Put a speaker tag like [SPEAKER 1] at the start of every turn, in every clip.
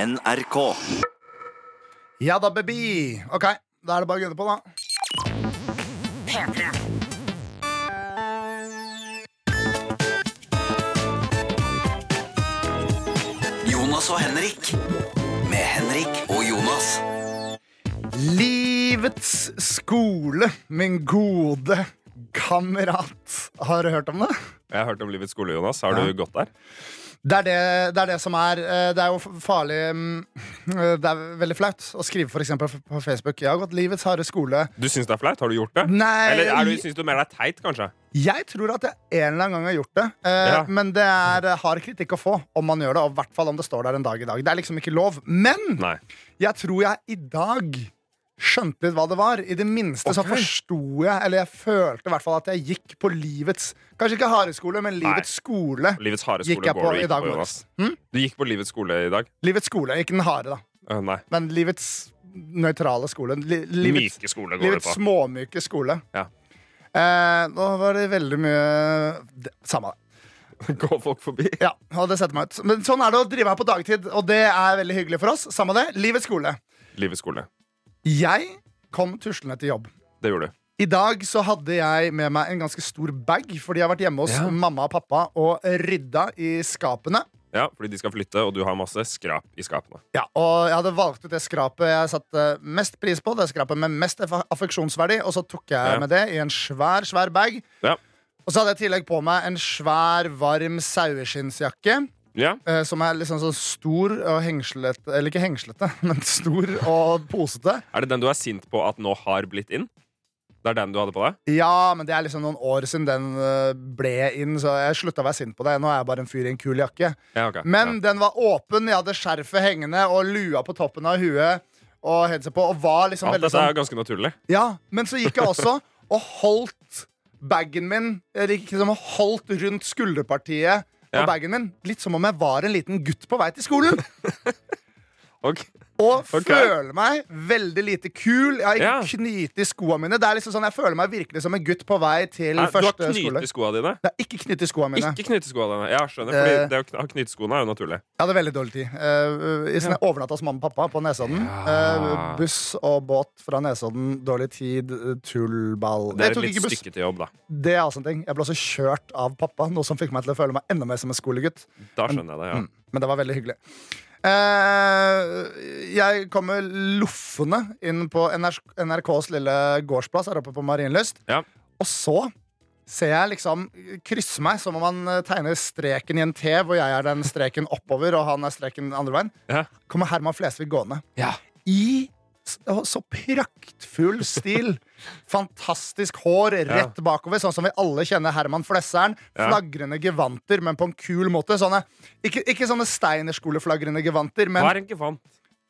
[SPEAKER 1] NRK.
[SPEAKER 2] Ja da, baby. Ok, da er det bare å gønne på, da.
[SPEAKER 1] Jonas og Henrik. Med Henrik og Jonas.
[SPEAKER 2] Livets skole, min gode kamerat. Har du hørt om det?
[SPEAKER 3] Jeg har hørt om Livets skole, Jonas. Har
[SPEAKER 2] Ja.
[SPEAKER 3] du gått der?
[SPEAKER 2] Det er det, det er det som er eh, Det er jo f- farlig mm, Det er veldig flaut å skrive for eksempel f- på Facebook. Jeg har gått livets harde skole.
[SPEAKER 3] Du syns det er flaut? Har du gjort det?
[SPEAKER 2] Nei,
[SPEAKER 3] Eller er du, syns du mer det er teit, kanskje?
[SPEAKER 2] Jeg tror at jeg en eller annen gang har gjort det, eh,
[SPEAKER 3] Ja.
[SPEAKER 2] men det er eh, hard kritikk å få om man gjør det. Og i hvert fall om det står der en dag i dag. Det er liksom ikke lov. Men
[SPEAKER 3] Nei.
[SPEAKER 2] jeg tror jeg i dag skjønte litt hva det var. I det minste så
[SPEAKER 3] Ok.
[SPEAKER 2] forsto jeg, eller jeg følte i hvert fall at jeg gikk på livets Kanskje ikke hareskole, men livets skole.
[SPEAKER 3] Livets harde
[SPEAKER 2] Gikk
[SPEAKER 3] skole
[SPEAKER 2] jeg på
[SPEAKER 3] går du
[SPEAKER 2] i
[SPEAKER 3] ikke
[SPEAKER 2] dag
[SPEAKER 3] på,
[SPEAKER 2] morges.
[SPEAKER 3] Jonas.
[SPEAKER 2] Hm?
[SPEAKER 3] Du gikk på Livets skole i dag?
[SPEAKER 2] Livets skole. Ikke den harde, da,
[SPEAKER 3] Øh, nei.
[SPEAKER 2] men livets nøytrale skole. Li livets
[SPEAKER 3] Myke skole går du
[SPEAKER 2] livets
[SPEAKER 3] på.
[SPEAKER 2] småmyke skole.
[SPEAKER 3] Ja.
[SPEAKER 2] Eh, nå var det veldig mye det- Samme det.
[SPEAKER 3] Går folk forbi?
[SPEAKER 2] Ja, og det setter meg ut. Men sånn er det å drive her på dagtid, og det er veldig hyggelig for oss. Samme det. Livets skole.
[SPEAKER 3] Livets skole.
[SPEAKER 2] Jeg kom tuslende til jobb.
[SPEAKER 3] Det gjorde du.
[SPEAKER 2] I dag så hadde jeg med meg en ganske stor bag, fordi jeg har vært hjemme hos
[SPEAKER 3] Ja.
[SPEAKER 2] mamma og pappa og rydda i skapene.
[SPEAKER 3] Ja, fordi de skal flytte, og du har masse skrap i skapene.
[SPEAKER 2] Ja, og jeg hadde valgt ut det skrapet jeg satte mest pris på, det skrapet med mest affa- affeksjonsverdi, og så tok jeg
[SPEAKER 3] Ja.
[SPEAKER 2] med det i en svær, svær bag.
[SPEAKER 3] Ja.
[SPEAKER 2] Og så hadde jeg i tillegg på meg en svær, varm saueskinnsjakke.
[SPEAKER 3] Ja,
[SPEAKER 2] eh, som er liksom så stor og hengslete Eller ikke hengslete, men stor og posete.
[SPEAKER 3] Er det den du er sint på at nå har blitt inn? Det er den du hadde på deg?
[SPEAKER 2] Ja, men det er liksom noen år siden den eh, ble inn, så jeg slutta å være sint på det. Nå er jeg bare en fyr i en kul jakke.
[SPEAKER 3] Ja, ok.
[SPEAKER 2] Men den var åpen, jeg hadde skjerfet hengende og lua på toppen av huet. Og headset på, og var
[SPEAKER 3] ja.
[SPEAKER 2] liksom
[SPEAKER 3] Alt
[SPEAKER 2] veldig
[SPEAKER 3] dette er
[SPEAKER 2] sånn
[SPEAKER 3] jo ganske naturlig.
[SPEAKER 2] Ja, Men så gikk jeg også og holdt bagen min eller ikke som holdt rundt skulderpartiet på
[SPEAKER 3] Ja.
[SPEAKER 2] bagen min. Litt som om jeg var en liten gutt på vei til skolen. Og
[SPEAKER 3] Ok. Ok.
[SPEAKER 2] føler meg veldig lite kul. Jeg har ikke
[SPEAKER 3] Ja.
[SPEAKER 2] knyte i skoa mine. Det er liksom sånn, Jeg føler meg virkelig som en gutt på vei til
[SPEAKER 3] Nei, du har
[SPEAKER 2] første skole.
[SPEAKER 3] knyt i skoene dine?
[SPEAKER 2] Det er ikke knytt i skoa mine.
[SPEAKER 3] Ikke knyteskoa dine. Ja, skjønner.
[SPEAKER 2] Eh.
[SPEAKER 3] Fordi det å kn- ha knyteskoene er jo naturlig.
[SPEAKER 2] Jeg hadde veldig dårlig tid. Eh, i sånn- jeg overnatta hos mamma og pappa på Nesodden.
[SPEAKER 3] Ja.
[SPEAKER 2] Eh, buss og båt fra Nesodden, dårlig tid, eh, tullball Jeg
[SPEAKER 3] Det er
[SPEAKER 2] tok
[SPEAKER 3] et litt
[SPEAKER 2] ikke buss.
[SPEAKER 3] stykke til jobb, da.
[SPEAKER 2] Det er også en ting. Jeg ble også kjørt av pappa, noe som fikk meg til å føle meg enda mer som en skolegutt.
[SPEAKER 3] Da skjønner jeg det, ja.
[SPEAKER 2] Men det var veldig hyggelig. Eh, jeg kommer loffende inn på NRK NRKs lille gårdsplass her oppe på Marienlyst.
[SPEAKER 3] Ja.
[SPEAKER 2] Og så ser jeg liksom krysse meg, som om han eh, tegner streken i en T, hvor jeg er den streken oppover, og han er streken andre veien.
[SPEAKER 3] Ja.
[SPEAKER 2] Kommer Herman Flesvig gående. I så, så praktfull stil. Fantastisk hår rett bakover, sånn som vi alle kjenner Herman Flesseren.
[SPEAKER 3] Ja.
[SPEAKER 2] Flagrende gevanter, men på en kul måte. Sånne, ikke, ikke sånne steinerskoleflagrende gevanter, men
[SPEAKER 3] Hva er en gevant?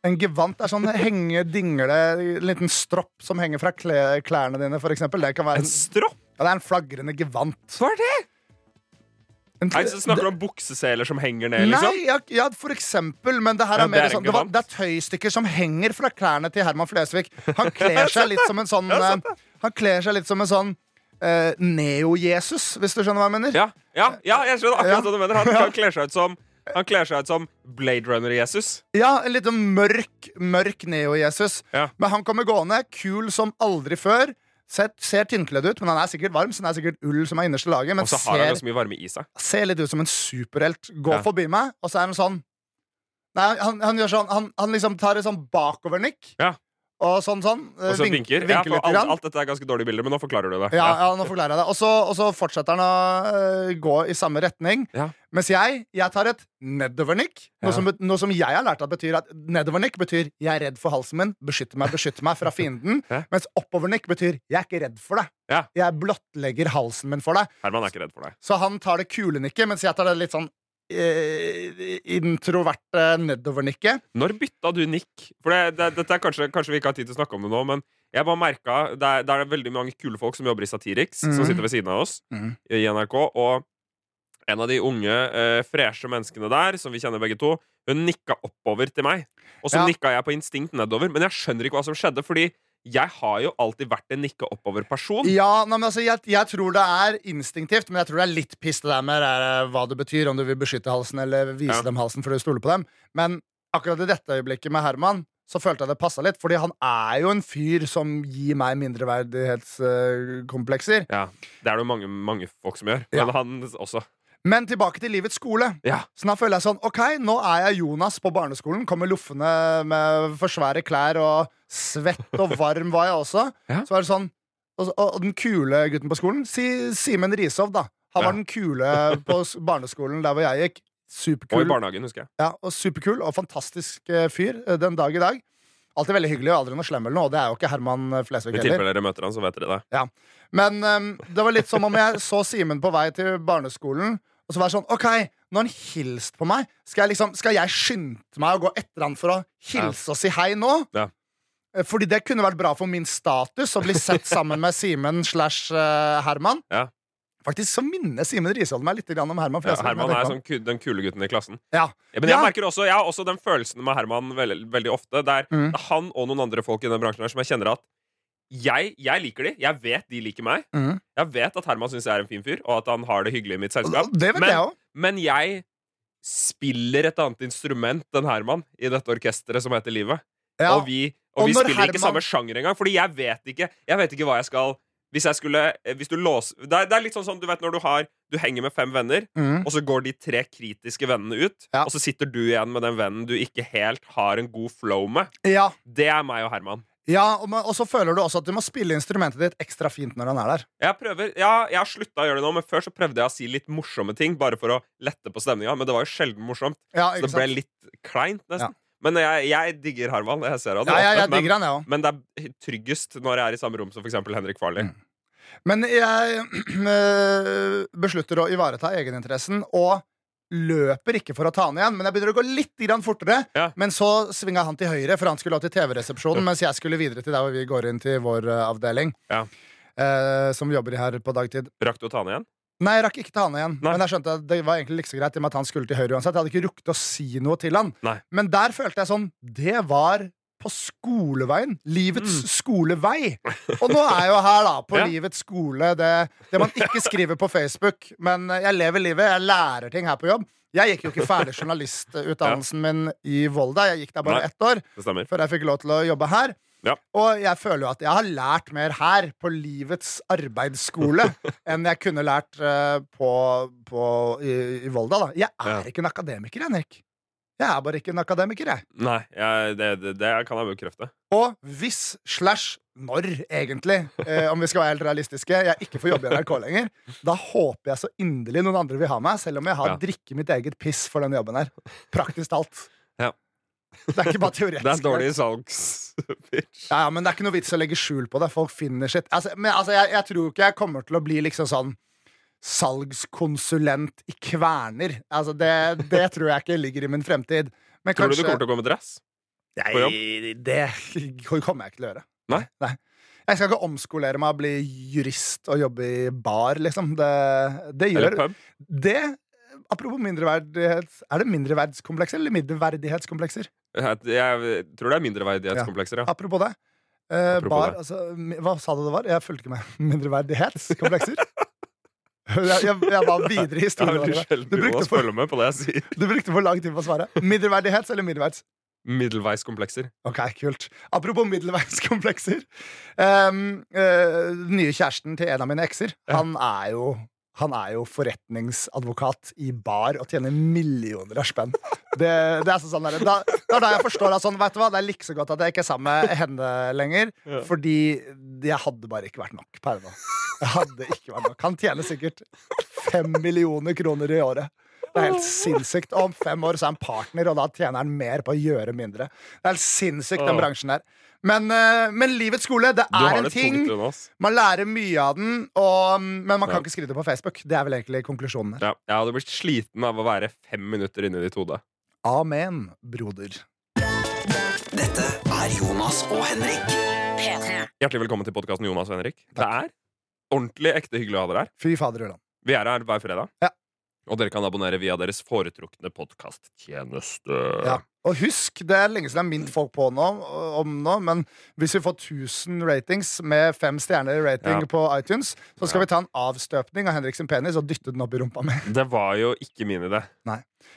[SPEAKER 2] en gevant er sånn henge, dingle, liten stropp som henger fra kle, klærne dine, for eksempel. Det kan være
[SPEAKER 3] En
[SPEAKER 2] en,
[SPEAKER 3] stropp?
[SPEAKER 2] ja, det er en flagrende gevant.
[SPEAKER 3] Hva er det?
[SPEAKER 2] En,
[SPEAKER 3] Nei, så snakker du om bukseseler som henger ned,
[SPEAKER 2] Nei,
[SPEAKER 3] liksom?
[SPEAKER 2] ja, ja, for eksempel, men det her
[SPEAKER 3] Ja,
[SPEAKER 2] er mer
[SPEAKER 3] det er en
[SPEAKER 2] sånn det, var,
[SPEAKER 3] gevant.
[SPEAKER 2] det er tøystykker som henger fra klærne til Herman Flesvig. Han kler seg litt som en sånn
[SPEAKER 3] Jeg har sett
[SPEAKER 2] eh, Han kler seg litt som en sånn eh, Neo-Jesus, hvis du skjønner hva jeg mener.
[SPEAKER 3] Ja, ja, ja jeg skjønner
[SPEAKER 2] Ja.
[SPEAKER 3] akkurat hva du mener. Han, han kler seg ut som han kler seg ut som Blade Runner-Jesus.
[SPEAKER 2] Ja, en litt sånn mørk, mørk Neo-Jesus.
[SPEAKER 3] Ja.
[SPEAKER 2] Men han kommer gående, kul som aldri før. Ser, ser tynnkledd ut, men han er sikkert varm, så det er sikkert ull som er innerste laget. Men
[SPEAKER 3] Og så har han
[SPEAKER 2] ser
[SPEAKER 3] jo så mye varme i seg.
[SPEAKER 2] ser litt ut som en superhelt. Går
[SPEAKER 3] Ja.
[SPEAKER 2] forbi meg, og så er han sånn Nei, han, han gjør sånn Han, han liksom tar et sånn bakovernikk.
[SPEAKER 3] Ja.
[SPEAKER 2] Og sånn, sånn. eh,
[SPEAKER 3] Og så
[SPEAKER 2] vink-
[SPEAKER 3] vinker. Ja, for
[SPEAKER 2] litt
[SPEAKER 3] alt,
[SPEAKER 2] grann.
[SPEAKER 3] alt dette er ganske dårlige bilder, men nå forklarer du det.
[SPEAKER 2] Ja, ja, nå forklarer jeg det. Og så, og så fortsetter han å eh, gå i samme retning.
[SPEAKER 3] Ja.
[SPEAKER 2] Mens jeg jeg tar et nedovernikk. Noe,
[SPEAKER 3] Ja.
[SPEAKER 2] som, bet- noe som jeg har lært at betyr at nedovernikk betyr 'jeg er redd for halsen min', beskytte meg, beskytte meg fra fienden.
[SPEAKER 3] Ja.
[SPEAKER 2] Mens oppovernikk betyr 'jeg er ikke redd for deg'.
[SPEAKER 3] Ja.
[SPEAKER 2] Jeg blottlegger halsen min for deg.
[SPEAKER 3] Herman er ikke redd for deg.
[SPEAKER 2] Så han tar det kule nikket, mens jeg tar det litt sånn eh, introverte nedovernikket.
[SPEAKER 3] Når bytta du nikk? For det, det, dette er kanskje, kanskje vi ikke har tid til å snakke om det nå, men jeg bare merka Det er, det er veldig mange kule folk som jobber i Satiriks,
[SPEAKER 2] Mhm.
[SPEAKER 3] som sitter ved siden av oss
[SPEAKER 2] Mhm.
[SPEAKER 3] i NRK. Og en av de unge, eh, freshe menneskene der, som vi kjenner begge to, hun nikka oppover til meg. Og så
[SPEAKER 2] Ja.
[SPEAKER 3] nikka jeg på instinkt nedover. Men jeg skjønner ikke hva som skjedde, fordi jeg har jo alltid vært en nikka oppover-person.
[SPEAKER 2] Ja, nei, men altså, jeg, jeg tror det er instinktivt, men jeg tror det er litt piss det der med det der, eh, hva det betyr, om du vil beskytte halsen eller vise
[SPEAKER 3] Ja.
[SPEAKER 2] dem halsen for du stoler på dem. Men akkurat i dette øyeblikket med Herman så følte jeg det passa litt, fordi han er jo en fyr som gir meg mindreverdighetskomplekser.
[SPEAKER 3] Ja, Det er det jo mange, mange folk som gjør. Men han også.
[SPEAKER 2] Men tilbake til livets skole.
[SPEAKER 3] Ja.
[SPEAKER 2] Så da føler jeg sånn OK, nå er jeg Jonas på barneskolen. Kommer loffende med for svære klær og svett og varm var jeg også.
[SPEAKER 3] Ja.
[SPEAKER 2] Så er det sånn Og, og og den kule gutten på skolen, si, Simen Rishov, da. Han var
[SPEAKER 3] Ja.
[SPEAKER 2] den kule på s- barneskolen der hvor jeg gikk.
[SPEAKER 3] Og i
[SPEAKER 2] Superkul.
[SPEAKER 3] barnehagen, husker jeg.
[SPEAKER 2] Ja, og superkul og fantastisk eh, fyr eh, den dag i dag. Alltid veldig hyggelig og aldri noe slem eller noe. og Det er jo ikke Herman eh, Flesvig
[SPEAKER 3] I
[SPEAKER 2] heller.
[SPEAKER 3] tilfelle dere møter han, så vet dere det.
[SPEAKER 2] Men ehm, det var litt som om jeg så Simen på vei til barneskolen, og så var jeg sånn OK, nå har han hilst på meg. Skal jeg, liksom, skal jeg skynde meg å gå etter han for å hilse og si hei nå?
[SPEAKER 3] Ja.
[SPEAKER 2] Eh, Fordi det kunne vært bra for min status å bli sett sammen med Simen slash eh, Herman.
[SPEAKER 3] Ja.
[SPEAKER 2] Faktisk så minner Simen Risholm meg litt grann om Herman
[SPEAKER 3] Ja,
[SPEAKER 2] Flesvig. når jeg
[SPEAKER 3] Herman
[SPEAKER 2] tenker
[SPEAKER 3] er sånn
[SPEAKER 2] på
[SPEAKER 3] som ku- den kule gutten i klassen.
[SPEAKER 2] han. ja.
[SPEAKER 3] Ja, men jeg
[SPEAKER 2] Ja.
[SPEAKER 3] merker også, jeg har også den følelsen med Herman veldig, veldig ofte. Det er
[SPEAKER 2] Mm.
[SPEAKER 3] det er han og noen andre folk i den bransjen her som jeg kjenner at jeg, jeg liker de. Jeg vet de liker meg.
[SPEAKER 2] Mhm.
[SPEAKER 3] Jeg vet at Herman syns jeg er en fin fyr, og at han har det hyggelig i mitt selskap.
[SPEAKER 2] Det vet
[SPEAKER 3] men,
[SPEAKER 2] jeg òg.
[SPEAKER 3] men jeg spiller et annet instrument enn Herman i dette orkesteret som heter Livet.
[SPEAKER 2] Ja.
[SPEAKER 3] Og vi, og
[SPEAKER 2] Og
[SPEAKER 3] vi
[SPEAKER 2] når
[SPEAKER 3] spiller ikke
[SPEAKER 2] Herman-
[SPEAKER 3] samme sjanger engang, Fordi jeg vet ikke Jeg vet ikke hva jeg skal Hvis jeg skulle eh, Hvis du låser Det er, det er litt sånn som du vet når du har Du henger med fem venner
[SPEAKER 2] Mhm.
[SPEAKER 3] Og så går de tre kritiske vennene ut
[SPEAKER 2] Ja.
[SPEAKER 3] Og så sitter du igjen med den vennen du ikke helt har en god flow med
[SPEAKER 2] Ja,
[SPEAKER 3] Det er meg og Herman
[SPEAKER 2] ja og, men- og så føler du også at du må spille instrumentet ditt ekstra fint når han er der.
[SPEAKER 3] jeg prøver, ja, jeg har sluttet å gjøre det nå Men før så prøvde jeg å si litt morsomme ting Bare for å lette på stemningen Men det var jo sjelden morsomt
[SPEAKER 2] Ja,
[SPEAKER 3] Så
[SPEAKER 2] ikke
[SPEAKER 3] det ble
[SPEAKER 2] sant?
[SPEAKER 3] litt kleint
[SPEAKER 2] Ja.
[SPEAKER 3] nesten Men jeg, jeg digger Herman Jeg ser han
[SPEAKER 2] Ja, ja, jeg
[SPEAKER 3] ofte,
[SPEAKER 2] digger han, jeg òg.
[SPEAKER 3] men, men det er tryggest når jeg er i samme rom Som for eksempel Henrik Farley
[SPEAKER 2] Mm. Men jeg øh, beslutter å ivareta egeninteressen og løper ikke for å ta han igjen, men jeg begynner å gå litt grann fortere.
[SPEAKER 3] Ja.
[SPEAKER 2] Men så svinga han til høyre, for han skulle til TV-resepsjonen, mens jeg skulle videre til der hvor vi går inn til vår øh, avdeling,
[SPEAKER 3] Ja.
[SPEAKER 2] Eh, som jobber her på dagtid.
[SPEAKER 3] Rakk du å ta han igjen?
[SPEAKER 2] Nei, jeg rakk ikke ta han igjen.
[SPEAKER 3] Nei.
[SPEAKER 2] Men jeg skjønte at det var egentlig like så greit i og med at han skulle til høyre uansett. Jeg hadde ikke rukket å si noe til han.
[SPEAKER 3] Nei.
[SPEAKER 2] Men der følte jeg sånn Det var på skoleveien. Livets skolevei. Og nå er jeg jo her, da. På
[SPEAKER 3] Mm. Ja.
[SPEAKER 2] livets skole. Det, det man ikke skriver på Facebook. Men eh, jeg lever livet. Jeg lærer ting her på jobb. Jeg gikk jo ikke ferdig journalistutdannelsen min i Volda. Jeg gikk der bare
[SPEAKER 3] Nei.
[SPEAKER 2] ett år
[SPEAKER 3] Det stemmer
[SPEAKER 2] før jeg fikk lov til å jobbe her.
[SPEAKER 3] Ja.
[SPEAKER 2] Og jeg føler jo at jeg har lært mer her, på livets arbeidsskole, enn jeg kunne lært eh, på, på, i, i Volda. da Jeg er
[SPEAKER 3] Ja.
[SPEAKER 2] ikke en akademiker, Henrik. Jeg er bare ikke en akademiker, jeg.
[SPEAKER 3] Nei, jeg, det, det, det kan jeg bekrefte.
[SPEAKER 2] Og hvis slash når, egentlig, eh, om vi skal være helt realistiske, jeg ikke får jobbe i NRK lenger, da håper jeg så inderlig noen andre vil ha meg, selv om jeg har
[SPEAKER 3] Ja.
[SPEAKER 2] drikket mitt eget piss for den jobben her. Praktisk talt.
[SPEAKER 3] Ja.
[SPEAKER 2] Det er ikke bare
[SPEAKER 3] Det
[SPEAKER 2] teoretisk.
[SPEAKER 3] er en dårlig salgspitch.
[SPEAKER 2] Ja, ja, men det er ikke noe vits å legge skjul på det. Folk finner sitt. Altså, men altså, jeg, jeg tror ikke jeg kommer til å bli liksom sånn salgskonsulent i kverner. Altså, det, det tror jeg ikke ligger i min fremtid. Men
[SPEAKER 3] Tror du du
[SPEAKER 2] kanskje
[SPEAKER 3] kommer til å gå med dress? på
[SPEAKER 2] Nei, det kommer jeg ikke til å gjøre.
[SPEAKER 3] Nei?
[SPEAKER 2] Jeg skal ikke omskolere meg og bli jurist og jobbe i bar, liksom. Det, det
[SPEAKER 3] Eller
[SPEAKER 2] gjør
[SPEAKER 3] pub?
[SPEAKER 2] Det Apropos mindreverdighets... Er det mindreverdskomplekser eller middelverdighetskomplekser?
[SPEAKER 3] Jeg, jeg tror det er mindreverdighetskomplekser, ja.
[SPEAKER 2] Apropos det. eh,
[SPEAKER 3] Apropos
[SPEAKER 2] bar,
[SPEAKER 3] det.
[SPEAKER 2] Altså, mi- hva sa du det var? Jeg fulgte ikke med. Mindreverdighetskomplekser? jeg, jeg, jeg var videre i
[SPEAKER 3] Jeg har
[SPEAKER 2] historien.
[SPEAKER 3] veldig
[SPEAKER 2] bare.
[SPEAKER 3] sjelden
[SPEAKER 2] Du brukte
[SPEAKER 3] Jonas
[SPEAKER 2] for-
[SPEAKER 3] følger med på det jeg sier.
[SPEAKER 2] Du brukte for lang tid på å svare. Middelverdighets eller middelverds?
[SPEAKER 3] Middelveiskomplekser.
[SPEAKER 2] Ok, kult. Apropos middelveiskomplekser. Um, eh, den nye kjæresten til en av mine ekser,
[SPEAKER 3] Ja.
[SPEAKER 2] han er jo han er jo forretningsadvokat i bar og tjener millioner av spenn. Det, det er sånn, sånn der, da, det er da jeg forstår at sånn, vet du hva, det er like så godt at jeg ikke er sammen med henne lenger.
[SPEAKER 3] Ja.
[SPEAKER 2] Fordi jeg hadde bare ikke vært nok per nå. Jeg hadde ikke vært nok. Han tjener sikkert fem millioner kroner i året. Det er helt sinnssykt. Og om fem år så er han partner, og da tjener han mer på å gjøre mindre. Det er helt sinnssykt, den
[SPEAKER 3] Åh.
[SPEAKER 2] bransjen der. Men, eh, men livets skole, det
[SPEAKER 3] Du
[SPEAKER 2] er
[SPEAKER 3] har
[SPEAKER 2] en
[SPEAKER 3] det tungt,
[SPEAKER 2] ting.
[SPEAKER 3] Jonas.
[SPEAKER 2] Man lærer mye av den, og, men man kan
[SPEAKER 3] Ja.
[SPEAKER 2] ikke skrive det på Facebook. Det er vel egentlig konklusjonen her.
[SPEAKER 3] Ja, jeg hadde blitt sliten av å være fem minutter inni ditt hode.
[SPEAKER 2] Amen, broder.
[SPEAKER 1] Dette er Jonas og Henrik.
[SPEAKER 3] Hjertelig velkommen til podkasten Jonas og Henrik. Det
[SPEAKER 2] Takk.
[SPEAKER 3] er ordentlig ekte hyggelig å ha dere her.
[SPEAKER 2] Fy fader, Ulland.
[SPEAKER 3] Vi er her hver fredag.
[SPEAKER 2] Ja.
[SPEAKER 3] Og dere kan abonnere via deres foretrukne podkasttjeneste.
[SPEAKER 2] Ja. Og husk, det er lenge siden jeg har minnet folk på nå, om nå, men hvis vi får 1000 ratings med fem stjerner i rating
[SPEAKER 3] Ja.
[SPEAKER 2] på iTunes, så skal
[SPEAKER 3] Ja.
[SPEAKER 2] vi ta en avstøpning av Henrik sin penis og dytte den opp i rumpa mi.
[SPEAKER 3] Det var jo ikke min idé.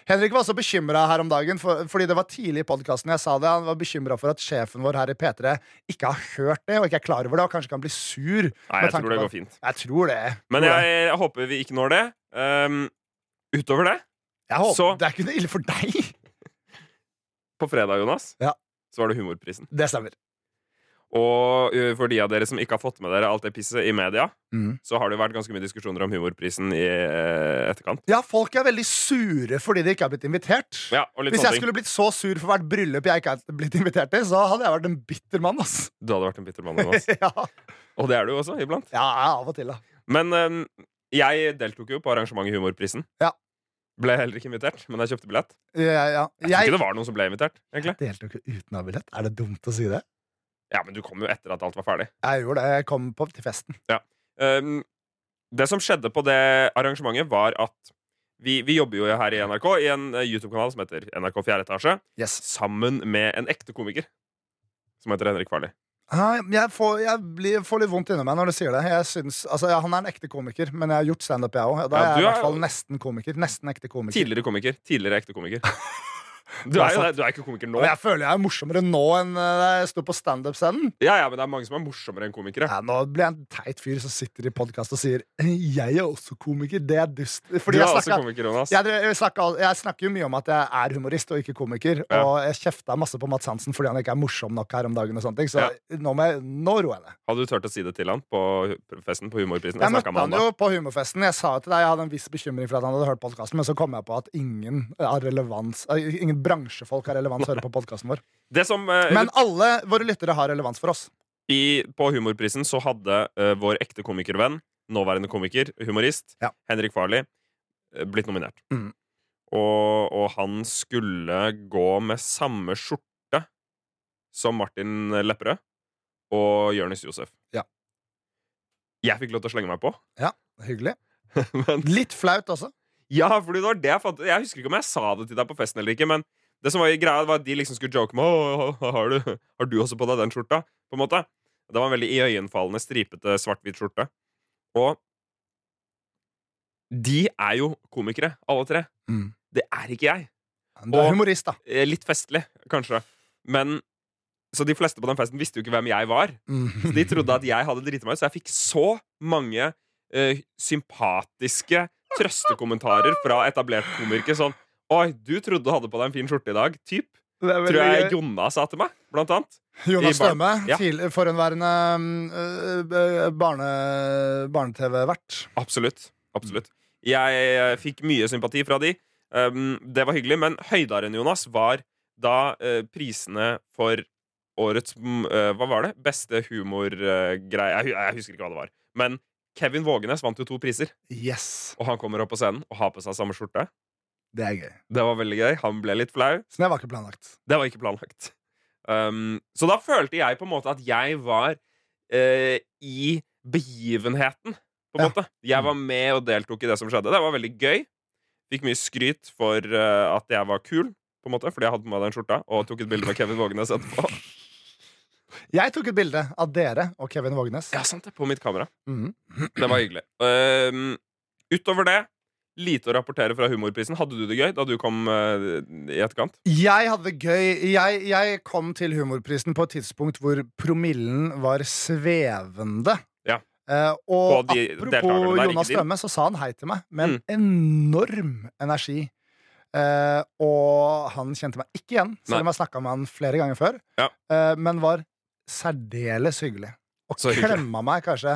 [SPEAKER 2] Henrik var også bekymra her om dagen, for, fordi det var tidlig i podkasten jeg sa det. Han var bekymra for at sjefen vår her i P3 ikke har hørt det og ikke er klar over det, og kanskje kan bli sur.
[SPEAKER 3] Nei,
[SPEAKER 2] med
[SPEAKER 3] jeg
[SPEAKER 2] tanke
[SPEAKER 3] tror det
[SPEAKER 2] på-
[SPEAKER 3] går fint.
[SPEAKER 2] Jeg tror det.
[SPEAKER 3] Men
[SPEAKER 2] Tror
[SPEAKER 3] jeg,
[SPEAKER 2] det.
[SPEAKER 3] jeg håper vi ikke når det. Ehm, utover det,
[SPEAKER 2] jeg håper,
[SPEAKER 3] så-
[SPEAKER 2] Det er ikke noe ille for deg.
[SPEAKER 3] på fredag, Jonas,
[SPEAKER 2] Ja.
[SPEAKER 3] så var det Humorprisen.
[SPEAKER 2] Det stemmer.
[SPEAKER 3] Og ø, for de av dere som ikke har fått med dere alt det pisset i media,
[SPEAKER 2] Mhm.
[SPEAKER 3] så har det jo vært ganske mye diskusjoner om Humorprisen i eh, etterkant.
[SPEAKER 2] Ja, folk er veldig sure fordi de ikke har blitt invitert.
[SPEAKER 3] Ja, og litt
[SPEAKER 2] Hvis jeg
[SPEAKER 3] sånne ting.
[SPEAKER 2] skulle blitt så sur for hvert bryllup jeg ikke hadde blitt invitert til, så hadde jeg vært en bitter mann, ass.
[SPEAKER 3] Du hadde vært en bitter mann. Jonas.
[SPEAKER 2] ja.
[SPEAKER 3] Og det er du jo også, iblant.
[SPEAKER 2] ja, av og til, da.
[SPEAKER 3] Men øhm, jeg deltok jo på arrangementet Humorprisen.
[SPEAKER 2] Ja.
[SPEAKER 3] Ble heller ikke invitert, men jeg kjøpte billett.
[SPEAKER 2] Ja, ja.
[SPEAKER 3] Jeg tror ikke det var noen som ble invitert. egentlig
[SPEAKER 2] deltok jo uten å ha billett. Er det dumt å si det?
[SPEAKER 3] Ja, Men du kom jo etter at alt var ferdig.
[SPEAKER 2] Jeg gjorde det. Jeg kom på til festen.
[SPEAKER 3] Øhm, det som skjedde på det arrangementet, var at vi, vi jobber jo her i NRK i en eh, YouTube-kanal som heter NRK 4 etasje,
[SPEAKER 2] Yes.
[SPEAKER 3] sammen med en ekte komiker som heter Henrik Farley.
[SPEAKER 2] Ah, Jeg, får, jeg blir, får litt vondt inni meg når du sier det. Jeg synes, altså, ja, han er en ekte komiker, men jeg har gjort standup, jeg òg. Da
[SPEAKER 3] Ja,
[SPEAKER 2] er jeg i
[SPEAKER 3] du er
[SPEAKER 2] hvert
[SPEAKER 3] jo-
[SPEAKER 2] fall nesten komiker. Nesten ekte komiker.
[SPEAKER 3] Tidligere komiker. Tidligere ekte komiker. Du er jo det, du er ikke komiker nå.
[SPEAKER 2] Og jeg føler jeg er morsommere nå enn eh, da jeg sto på standup-scenen.
[SPEAKER 3] Ja, ja, men det er mange som er morsommere enn komikere.
[SPEAKER 2] Ja, nå blir jeg en teit fyr som sitter i podkast og sier 'Jeg er også komiker'. Det er dust.
[SPEAKER 3] Du
[SPEAKER 2] Fordi
[SPEAKER 3] er
[SPEAKER 2] jeg
[SPEAKER 3] også
[SPEAKER 2] snakka
[SPEAKER 3] komiker, Jonas.
[SPEAKER 2] Jeg, jeg, snakker, jeg snakker jo mye om at jeg er humorist og ikke komiker,
[SPEAKER 3] Ja.
[SPEAKER 2] og jeg kjefta masse på Mats Hansen fordi han ikke er morsom nok her om dagen, og sånne ting, så nå, må jeg, nå roer jeg ned.
[SPEAKER 3] Hadde du turt å si det til han på festen på Humorprisen?
[SPEAKER 2] Jeg
[SPEAKER 3] Jeg snakket
[SPEAKER 2] møtte
[SPEAKER 3] med
[SPEAKER 2] han
[SPEAKER 3] han da.
[SPEAKER 2] jo på humorfesten. Jeg sa til deg jeg hadde en viss bekymring for at han hadde hørt podkasten, men så kom jeg på at ingen, har relevans, eh, ingen bransjefolk har relevans hører på podkasten vår.
[SPEAKER 3] Det som, eh,
[SPEAKER 2] Men alle våre lyttere har relevans for oss.
[SPEAKER 3] i, på Humorprisen så hadde eh, vår ekte komikervenn, nåværende komiker, humorist,
[SPEAKER 2] Ja.
[SPEAKER 3] Henrik Farley, eh, blitt nominert.
[SPEAKER 2] Mm.
[SPEAKER 3] Og, og han skulle gå med samme skjorte som Martin Lepperød og Jonis Josef.
[SPEAKER 2] Ja.
[SPEAKER 3] Jeg fikk lov til å slenge meg på.
[SPEAKER 2] Hyggelig.
[SPEAKER 3] Men
[SPEAKER 2] Litt flaut også.
[SPEAKER 3] Ja, fordi det var det jeg fant Jeg husker ikke om jeg sa det til deg på festen eller ikke, men det som var greia, var at de liksom skulle joke med Å, har du, har du også på deg den skjorta? På en måte. Det var en veldig iøynefallende, stripete, svart-hvit skjorte. Og de er jo komikere, alle tre.
[SPEAKER 2] Mm.
[SPEAKER 3] Det er ikke jeg.
[SPEAKER 2] Du er
[SPEAKER 3] Og-
[SPEAKER 2] humorist, da.
[SPEAKER 3] Eh, Litt festlig, kanskje. Men Så de fleste på den festen visste jo ikke hvem jeg var. Så de trodde at jeg hadde driti meg ut, så jeg fikk så mange eh, sympatiske trøstekommentarer fra etablert komikere sånn Oi, du trodde du hadde på deg en fin skjorte i dag. Typ.
[SPEAKER 2] Det er veldig
[SPEAKER 3] Tror jeg
[SPEAKER 2] gøy.
[SPEAKER 3] Jonna sa til meg, blant annet.
[SPEAKER 2] Jonas
[SPEAKER 3] i barn-
[SPEAKER 2] Støme,
[SPEAKER 3] Ja.
[SPEAKER 2] tidlig- forhenværende øh, øh, barne, barne-TV-vert.
[SPEAKER 3] Absolutt. Absolutt. Jeg eh, fikk mye sympati fra de. Um, det var hyggelig, men høydaren, Jonas, var da eh, prisene for årets mm, eh, Hva var det? Beste humorgreie jeg, hu- jeg husker ikke hva det var. Men Kevin Vågenes vant jo to priser,
[SPEAKER 2] Yes,
[SPEAKER 3] og han kommer opp på scenen og har på seg samme skjorte.
[SPEAKER 2] det er gøy.
[SPEAKER 3] Det var veldig gøy. Han ble litt flau.
[SPEAKER 2] Så det var ikke planlagt.
[SPEAKER 3] Det var ikke planlagt. Um, så da følte jeg på en måte at jeg var eh, i begivenheten, på en
[SPEAKER 2] Ja.
[SPEAKER 3] måte. Jeg var med og deltok i det som skjedde. Det var veldig gøy. Fikk mye skryt for eh, at jeg var kul, på en måte, fordi jeg hadde på meg den skjorta, og tok et bilde med Kevin Vågenes etterpå.
[SPEAKER 2] Jeg tok et bilde av dere og Kevin Vågenes.
[SPEAKER 3] Ja, sant det, på mitt kamera.
[SPEAKER 2] Mhm.
[SPEAKER 3] Det var hyggelig. Um, utover det, lite å rapportere fra Humorprisen. Hadde du det gøy da du kom eh, i etterkant?
[SPEAKER 2] Jeg hadde det gøy. Jeg, jeg kom til Humorprisen på et tidspunkt hvor promillen var svevende.
[SPEAKER 3] Ja.
[SPEAKER 2] Eh, og
[SPEAKER 3] På de Mm. deltakerne
[SPEAKER 2] apropos
[SPEAKER 3] der, ikke
[SPEAKER 2] Jonas
[SPEAKER 3] din.
[SPEAKER 2] Strømme, så sa han hei til meg med en enorm energi. Eh, og han kjente meg ikke igjen, selv om jeg snakka med han flere ganger før.
[SPEAKER 3] Ja.
[SPEAKER 2] Eh, men var særdeles hyggelig. Og
[SPEAKER 3] Så hyggelig.
[SPEAKER 2] klemma meg kanskje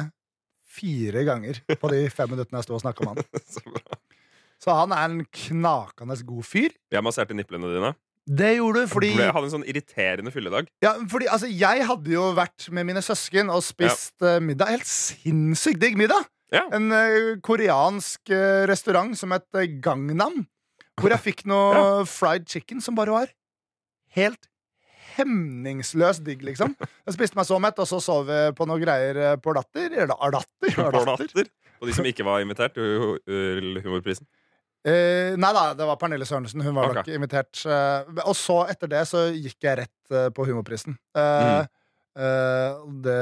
[SPEAKER 2] fire ganger på de fem minuttene jeg sto og snakka med han.
[SPEAKER 3] Så bra.
[SPEAKER 2] Så han er en knakende god fyr.
[SPEAKER 3] Jeg masserte nipplene dine.
[SPEAKER 2] Det gjorde du fordi
[SPEAKER 3] Jeg hadde en sånn irriterende fylledag.
[SPEAKER 2] Ja, fordi altså, Jeg hadde jo vært med mine søsken og spist eh, middag. Helt sinnssykt digg middag!
[SPEAKER 3] Ja.
[SPEAKER 2] En eh, koreansk eh, restaurant som het eh, Gangnam. Hvor jeg fikk noe fried chicken som bare var helt hemningsløst digg, liksom. Jeg spiste meg så mett, og så sov vi på noe greier eh, på Latter. Eller Ardatter.
[SPEAKER 3] På
[SPEAKER 2] Ardatter.
[SPEAKER 3] latter. Og de som ikke var invitert til hu- til humorprisen.
[SPEAKER 2] Eh, nei da, det var Pernille Sørensen. Hun var
[SPEAKER 3] Ok.
[SPEAKER 2] nok invitert. eh, og så, etter det, så gikk jeg rett eh, på Humorprisen. Eh, eh, det,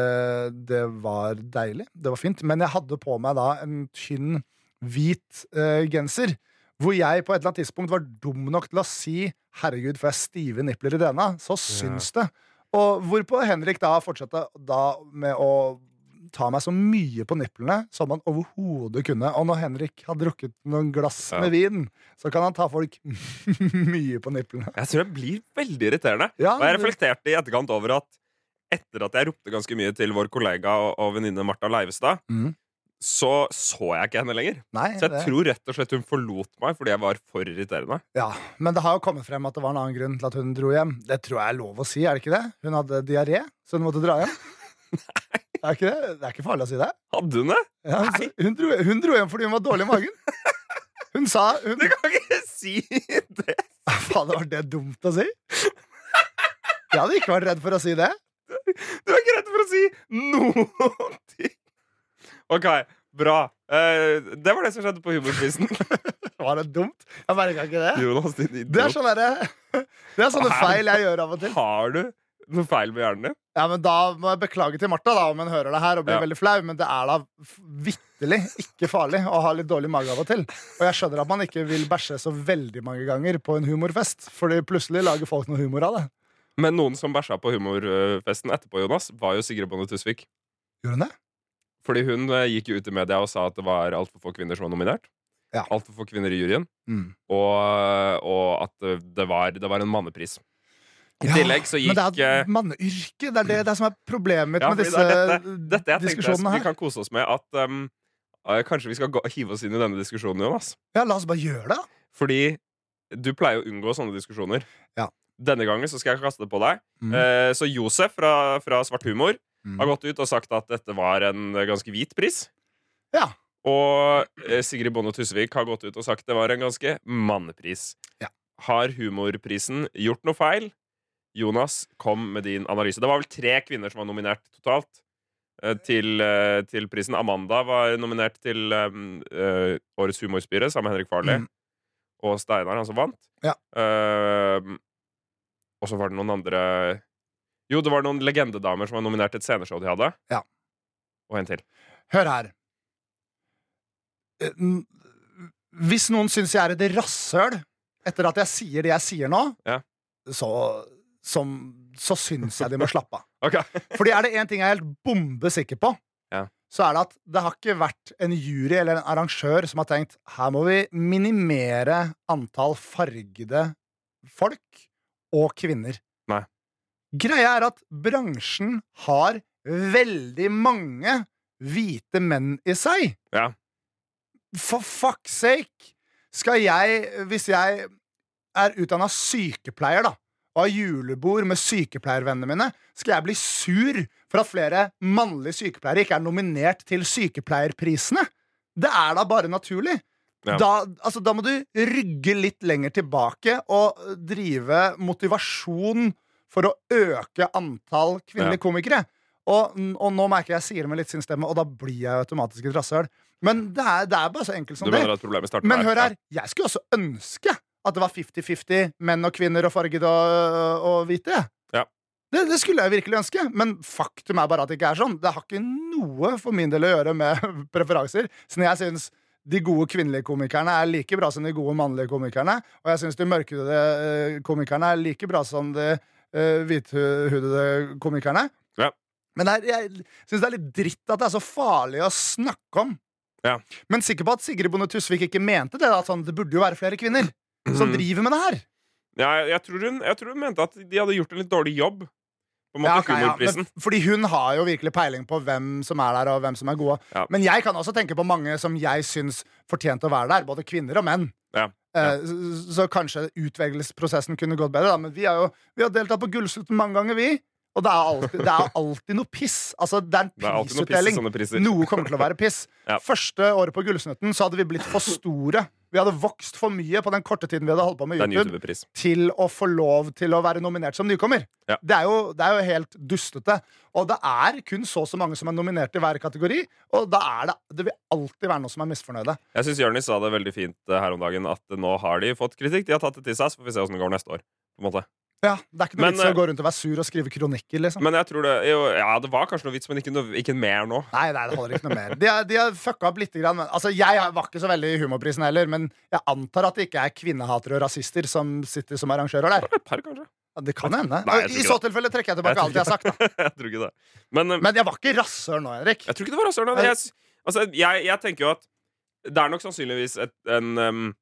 [SPEAKER 2] det var deilig. Det var fint. Men jeg hadde på meg da en tynn, hvit eh, genser. Hvor jeg på et eller annet tidspunkt var dum nok til å si 'herregud, får jeg stive nipler i denne', så syns det. Og hvorpå Henrik da fortsatte da med å ta meg så mye på niplene som han overhodet kunne. Og når Henrik har drukket noen glass
[SPEAKER 3] Ja.
[SPEAKER 2] med vin, så kan han ta folk mye på niplene.
[SPEAKER 3] Jeg tror jeg blir veldig irriterende.
[SPEAKER 2] Ja,
[SPEAKER 3] Og jeg
[SPEAKER 2] det-
[SPEAKER 3] reflekterte i etterkant over at etter at jeg ropte ganske mye til vår kollega og, og venninne Martha Leivestad,
[SPEAKER 2] Mm.
[SPEAKER 3] så så jeg ikke henne lenger.
[SPEAKER 2] Nei,
[SPEAKER 3] Så jeg
[SPEAKER 2] det,
[SPEAKER 3] tror rett og slett hun forlot meg fordi jeg var for irriterende.
[SPEAKER 2] ja. Men det har jo kommet frem at det var en annen grunn til at hun dro hjem. Det tror jeg er lov å si, er det ikke det? Hun hadde diaré, så hun måtte dra hjem. Er det ikke det? Det er ikke farlig å si det.
[SPEAKER 3] Hadde hun det?
[SPEAKER 2] Ja, hun,
[SPEAKER 3] Nei.
[SPEAKER 2] hun, dro, hun dro hjem fordi hun var dårlig i magen. Hun sa hun,
[SPEAKER 3] Du kan ikke si det!
[SPEAKER 2] Fader, var det dumt å si? Jeg hadde ikke vært redd for å si det.
[SPEAKER 3] Du er ikke redd for å si noen ting! Ok, bra. Eh, det var det som skjedde på humorprisen.
[SPEAKER 2] Var det dumt? Jeg merka ikke det.
[SPEAKER 3] Jonas, din
[SPEAKER 2] Det er,
[SPEAKER 3] idiot.
[SPEAKER 2] sånn derre- det er sånne feil jeg gjør av og til.
[SPEAKER 3] Har du noe feil med hjernen din?
[SPEAKER 2] Ja, men Da må jeg beklage til Martha da, om hun hører det her og blir
[SPEAKER 3] Ja.
[SPEAKER 2] veldig flau, men det er da f- vitterlig ikke farlig å ha litt dårlig mage av og til. Og jeg skjønner at man ikke vil bæsje så veldig mange ganger på en humorfest, Fordi plutselig lager folk noe humor av det.
[SPEAKER 3] Men noen som bæsja på humorfesten etterpå, Jonas, var jo Sigrid Bonde Tusvik.
[SPEAKER 2] Gjorde hun det?
[SPEAKER 3] Fordi hun eh, gikk jo ut i media og sa at det var altfor få kvinner som var nominert.
[SPEAKER 2] Ja.
[SPEAKER 3] Altfor få kvinner i juryen.
[SPEAKER 2] Mm.
[SPEAKER 3] Og, og at eh, det var, det var en mannepris. I
[SPEAKER 2] Ja,
[SPEAKER 3] tillegg så gikk
[SPEAKER 2] Men det er
[SPEAKER 3] eh,
[SPEAKER 2] et manneyrke! Det er det, det er som er problemet mitt
[SPEAKER 3] ja,
[SPEAKER 2] med
[SPEAKER 3] fordi
[SPEAKER 2] disse
[SPEAKER 3] det er dette, dette jeg tenkte
[SPEAKER 2] diskusjonene
[SPEAKER 3] vi
[SPEAKER 2] her.
[SPEAKER 3] kan kose oss med at um, eh, Kanskje vi skal gå, hive oss inn i denne diskusjonen, Jonas.
[SPEAKER 2] Ja, La oss bare gjøre det. da.
[SPEAKER 3] Fordi du pleier å unngå sånne diskusjoner.
[SPEAKER 2] Ja.
[SPEAKER 3] Denne gangen så skal jeg kaste det på deg.
[SPEAKER 2] Mm.
[SPEAKER 3] Eh, så Josef fra, fra Svart humor
[SPEAKER 2] Mm.
[SPEAKER 3] har gått ut og sagt at dette var en eh, ganske hvit pris.
[SPEAKER 2] Ja.
[SPEAKER 3] Og eh, Sigrid Bonde Tusvik har gått ut og sagt det var en ganske mannepris.
[SPEAKER 2] Ja.
[SPEAKER 3] Har humorprisen gjort noe feil? Jonas, kom med din analyse. Det var vel tre kvinner som var nominert totalt eh, til, eh, til prisen. Amanda var nominert til eh, eh, Årets humorspire sammen med Henrik Farley
[SPEAKER 2] Mm.
[SPEAKER 3] og Steinar, han som vant.
[SPEAKER 2] Ja.
[SPEAKER 3] Eh, og så var det noen andre Jo, det var noen legendedamer som var nominert til et sceneshow de hadde.
[SPEAKER 2] Ja.
[SPEAKER 3] Og en til.
[SPEAKER 2] Hør her. Eh, n- Hvis noen syns jeg er et rasshøl etter at jeg sier det jeg sier nå,
[SPEAKER 3] Ja.
[SPEAKER 2] så, som, så syns jeg de må slappe av.
[SPEAKER 3] Ok.
[SPEAKER 2] Fordi er det én ting jeg er helt bombesikker på,
[SPEAKER 3] Ja.
[SPEAKER 2] så er det at det har ikke vært en jury eller en arrangør som har tenkt her må vi minimere antall fargede folk og kvinner.
[SPEAKER 3] Nei.
[SPEAKER 2] Greia er at bransjen har veldig mange hvite menn i seg.
[SPEAKER 3] Ja.
[SPEAKER 2] For fuck's sake! Skal jeg, hvis jeg er utdanna sykepleier, da, og har julebord med sykepleiervennene mine, skal jeg bli sur for at flere mannlige sykepleiere ikke er nominert til sykepleierprisene? Det er da bare naturlig.
[SPEAKER 3] Ja.
[SPEAKER 2] Da, altså, da må du rygge litt lenger tilbake og drive motivasjon for å øke antall
[SPEAKER 3] Ja.
[SPEAKER 2] kvinnelige komikere. Og, og nå merker jeg jeg sier det med litt sin stemme, og da blir jeg automatisk et rasshøl. Men det er, det er bare så enkelt
[SPEAKER 3] Du
[SPEAKER 2] som det.
[SPEAKER 3] mener at problemet starter
[SPEAKER 2] Sånn Men
[SPEAKER 3] der?
[SPEAKER 2] hør
[SPEAKER 3] Ja.
[SPEAKER 2] her, jeg skulle også ønske at det var 50-50 menn og kvinner og fargede og, og hvite.
[SPEAKER 3] Ja.
[SPEAKER 2] Det, det skulle jeg virkelig ønske, men faktum er bare at det ikke er sånn. Det har ikke noe for min del å gjøre med preferanser. Så jeg syns de gode kvinnelige komikerne er like bra som de gode mannlige komikerne, og jeg syns de mørkhudede eh, komikerne er like bra som de eh, hvithudede komikerne.
[SPEAKER 3] Ja.
[SPEAKER 2] Men det er, jeg syns det er litt dritt at det er så farlig å snakke om. Men sikker på at Sigrid Bonde Tusvik ikke mente det. At sånn, det burde jo være flere kvinner som
[SPEAKER 3] Mhm.
[SPEAKER 2] driver med det her.
[SPEAKER 3] Ja, jeg, jeg, tror hun, jeg tror hun mente at de hadde gjort en litt dårlig jobb. På en måte
[SPEAKER 2] Ja, ok, ja,
[SPEAKER 3] humorprisen.
[SPEAKER 2] men- fordi hun har jo virkelig peiling på hvem som er der, og hvem som er gode.
[SPEAKER 3] Ja.
[SPEAKER 2] Men jeg kan også tenke på mange som jeg syns fortjente å være der. Både kvinner og menn.
[SPEAKER 3] Ja,
[SPEAKER 2] Eh, Så, så kanskje utvelgelsesprosessen kunne gått bedre. Da. Men vi har jo vi har deltatt på Gullsulten mange ganger, vi. Og det er alltid, det er alltid noe piss. Altså, det er en
[SPEAKER 3] Det er alltid noe piss i
[SPEAKER 2] prisutdeling.
[SPEAKER 3] sånne priser.
[SPEAKER 2] Noe kommer til å være piss.
[SPEAKER 3] Ja.
[SPEAKER 2] Første året på Gullsnutten så hadde vi blitt for store. Vi hadde vokst for mye på den korte tiden vi hadde holdt på med
[SPEAKER 3] Det er en
[SPEAKER 2] YouTube,
[SPEAKER 3] YouTuber-pris.
[SPEAKER 2] til å få lov til å være nominert som nykommer.
[SPEAKER 3] Ja.
[SPEAKER 2] Det, er jo, det er jo helt dustete. Og det er kun så og så mange som er nominert i hver kategori, og da er det, det vil alltid være noen som er misfornøyde.
[SPEAKER 3] Jeg syns Jonis sa det veldig fint eh, her om dagen, at eh, nå har de fått kritikk. De har tatt det til seg, så får vi se åssen det går neste år. På en måte.
[SPEAKER 2] Ja, det er ikke noe
[SPEAKER 3] Men,
[SPEAKER 2] vits i
[SPEAKER 3] eh,
[SPEAKER 2] å gå rundt og være sur og skrive kronikker, liksom.
[SPEAKER 3] Men jeg tror det jo, Ja, det var kanskje noe vits, men ikke, noe, ikke mer nå.
[SPEAKER 2] Nei, nei, det holder ikke noe mer. De har, de har fucka opp lite grann. Men, altså, jeg var ikke så veldig i humorprisen heller, men jeg antar at det ikke er kvinnehatere og rasister som sitter som arrangører der.
[SPEAKER 3] Det var Et par, kanskje.
[SPEAKER 2] Ja, Det kan hende.
[SPEAKER 3] Nei, jeg
[SPEAKER 2] I
[SPEAKER 3] tror ikke
[SPEAKER 2] så tilfelle trekker jeg tilbake alt jeg har sagt. Da.
[SPEAKER 3] jeg tror ikke det. Men, eh,
[SPEAKER 2] Men jeg var ikke rasshøl nå, Henrik.
[SPEAKER 3] jeg tror ikke det var rasshøl. da. Jeg, s- altså, jeg, jeg tenker jo at det er nok sannsynligvis et, en em,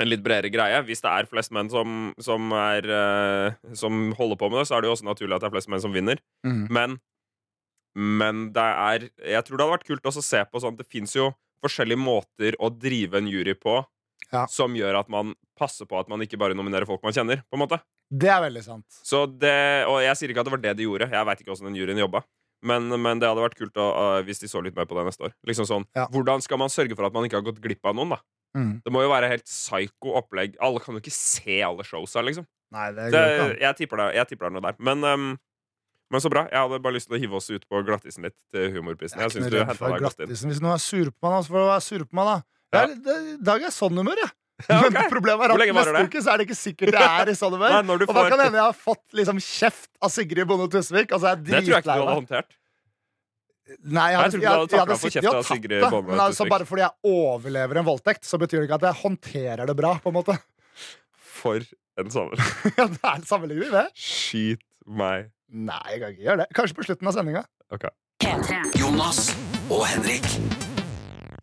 [SPEAKER 3] en litt bredere greie. Hvis det er flest menn som, som, er, eh, som holder på med det, så er det jo også naturlig at det er flest menn som vinner.
[SPEAKER 2] Mm.
[SPEAKER 3] Men, men det er Jeg tror det hadde vært kult også å se på sånn Det fins jo forskjellige måter å drive en jury på
[SPEAKER 2] Ja.
[SPEAKER 3] som gjør at man passer på at man ikke bare nominerer folk man kjenner. på en måte
[SPEAKER 2] Det er veldig sant.
[SPEAKER 3] Så det, Og jeg sier ikke at det var det de gjorde. Jeg veit ikke åssen den juryen jobba. Men, men det hadde vært kult å, øh, hvis de så litt mer på det neste år. Liksom sånn,
[SPEAKER 2] Ja.
[SPEAKER 3] Hvordan skal man sørge for at man ikke har gått glipp av noen? da?
[SPEAKER 2] Mm.
[SPEAKER 3] Det må jo være helt psyko opplegg. Alle kan jo ikke se alle showsa, liksom.
[SPEAKER 2] Nei, det
[SPEAKER 3] Det,
[SPEAKER 2] går ikke an.
[SPEAKER 3] jeg, tipper det, jeg tipper det er noe der. Men, ehm, men så bra. Jeg hadde bare lyst til å hive oss ut på glattisen litt til humorprisen.
[SPEAKER 2] Jeg er
[SPEAKER 3] Jeg
[SPEAKER 2] ikke noe
[SPEAKER 3] synes du
[SPEAKER 2] redd
[SPEAKER 3] hentet
[SPEAKER 2] for
[SPEAKER 3] deg godt inn.
[SPEAKER 2] glattisen. Hvis noen er sure på meg, da, så får de være sure på meg, da.
[SPEAKER 3] Ja.
[SPEAKER 2] Jeg er- det- I dag er jeg i sånn humør, jeg.
[SPEAKER 3] Ja, ok.
[SPEAKER 2] Men problemet er
[SPEAKER 3] Hvor lenge
[SPEAKER 2] at
[SPEAKER 3] varer
[SPEAKER 2] neste
[SPEAKER 3] det?
[SPEAKER 2] uke så er det ikke sikkert jeg er i sånn humør.
[SPEAKER 3] Nei, når du
[SPEAKER 2] Og da
[SPEAKER 3] får-
[SPEAKER 2] kan det hende jeg har fått liksom kjeft av Sigrid Bonde Tusvik. Altså, jeg er
[SPEAKER 3] Det tror jeg ikke
[SPEAKER 2] dritlei
[SPEAKER 3] du hadde
[SPEAKER 2] meg.
[SPEAKER 3] håndtert.
[SPEAKER 2] Nei, jeg
[SPEAKER 3] Jeg tror
[SPEAKER 2] hadde,
[SPEAKER 3] ikke
[SPEAKER 2] jeg,
[SPEAKER 3] du hadde
[SPEAKER 2] jeg,
[SPEAKER 3] taklet
[SPEAKER 2] hadde
[SPEAKER 3] å få
[SPEAKER 2] sittet
[SPEAKER 3] kjeft
[SPEAKER 2] og
[SPEAKER 3] av
[SPEAKER 2] tatt
[SPEAKER 3] Sigrid
[SPEAKER 2] det.
[SPEAKER 3] Bonde
[SPEAKER 2] Men altså,
[SPEAKER 3] Tusvik.
[SPEAKER 2] bare fordi jeg overlever en voldtekt, så betyr det ikke at jeg håndterer det bra. på en måte
[SPEAKER 3] For en sommer.
[SPEAKER 2] Ja, Det er sammenligner vi det.
[SPEAKER 3] Skyt meg.
[SPEAKER 2] Nei, jeg kan ikke gjøre det. Kanskje på slutten av sendinga.
[SPEAKER 3] Ok.
[SPEAKER 1] Jonas og Henrik.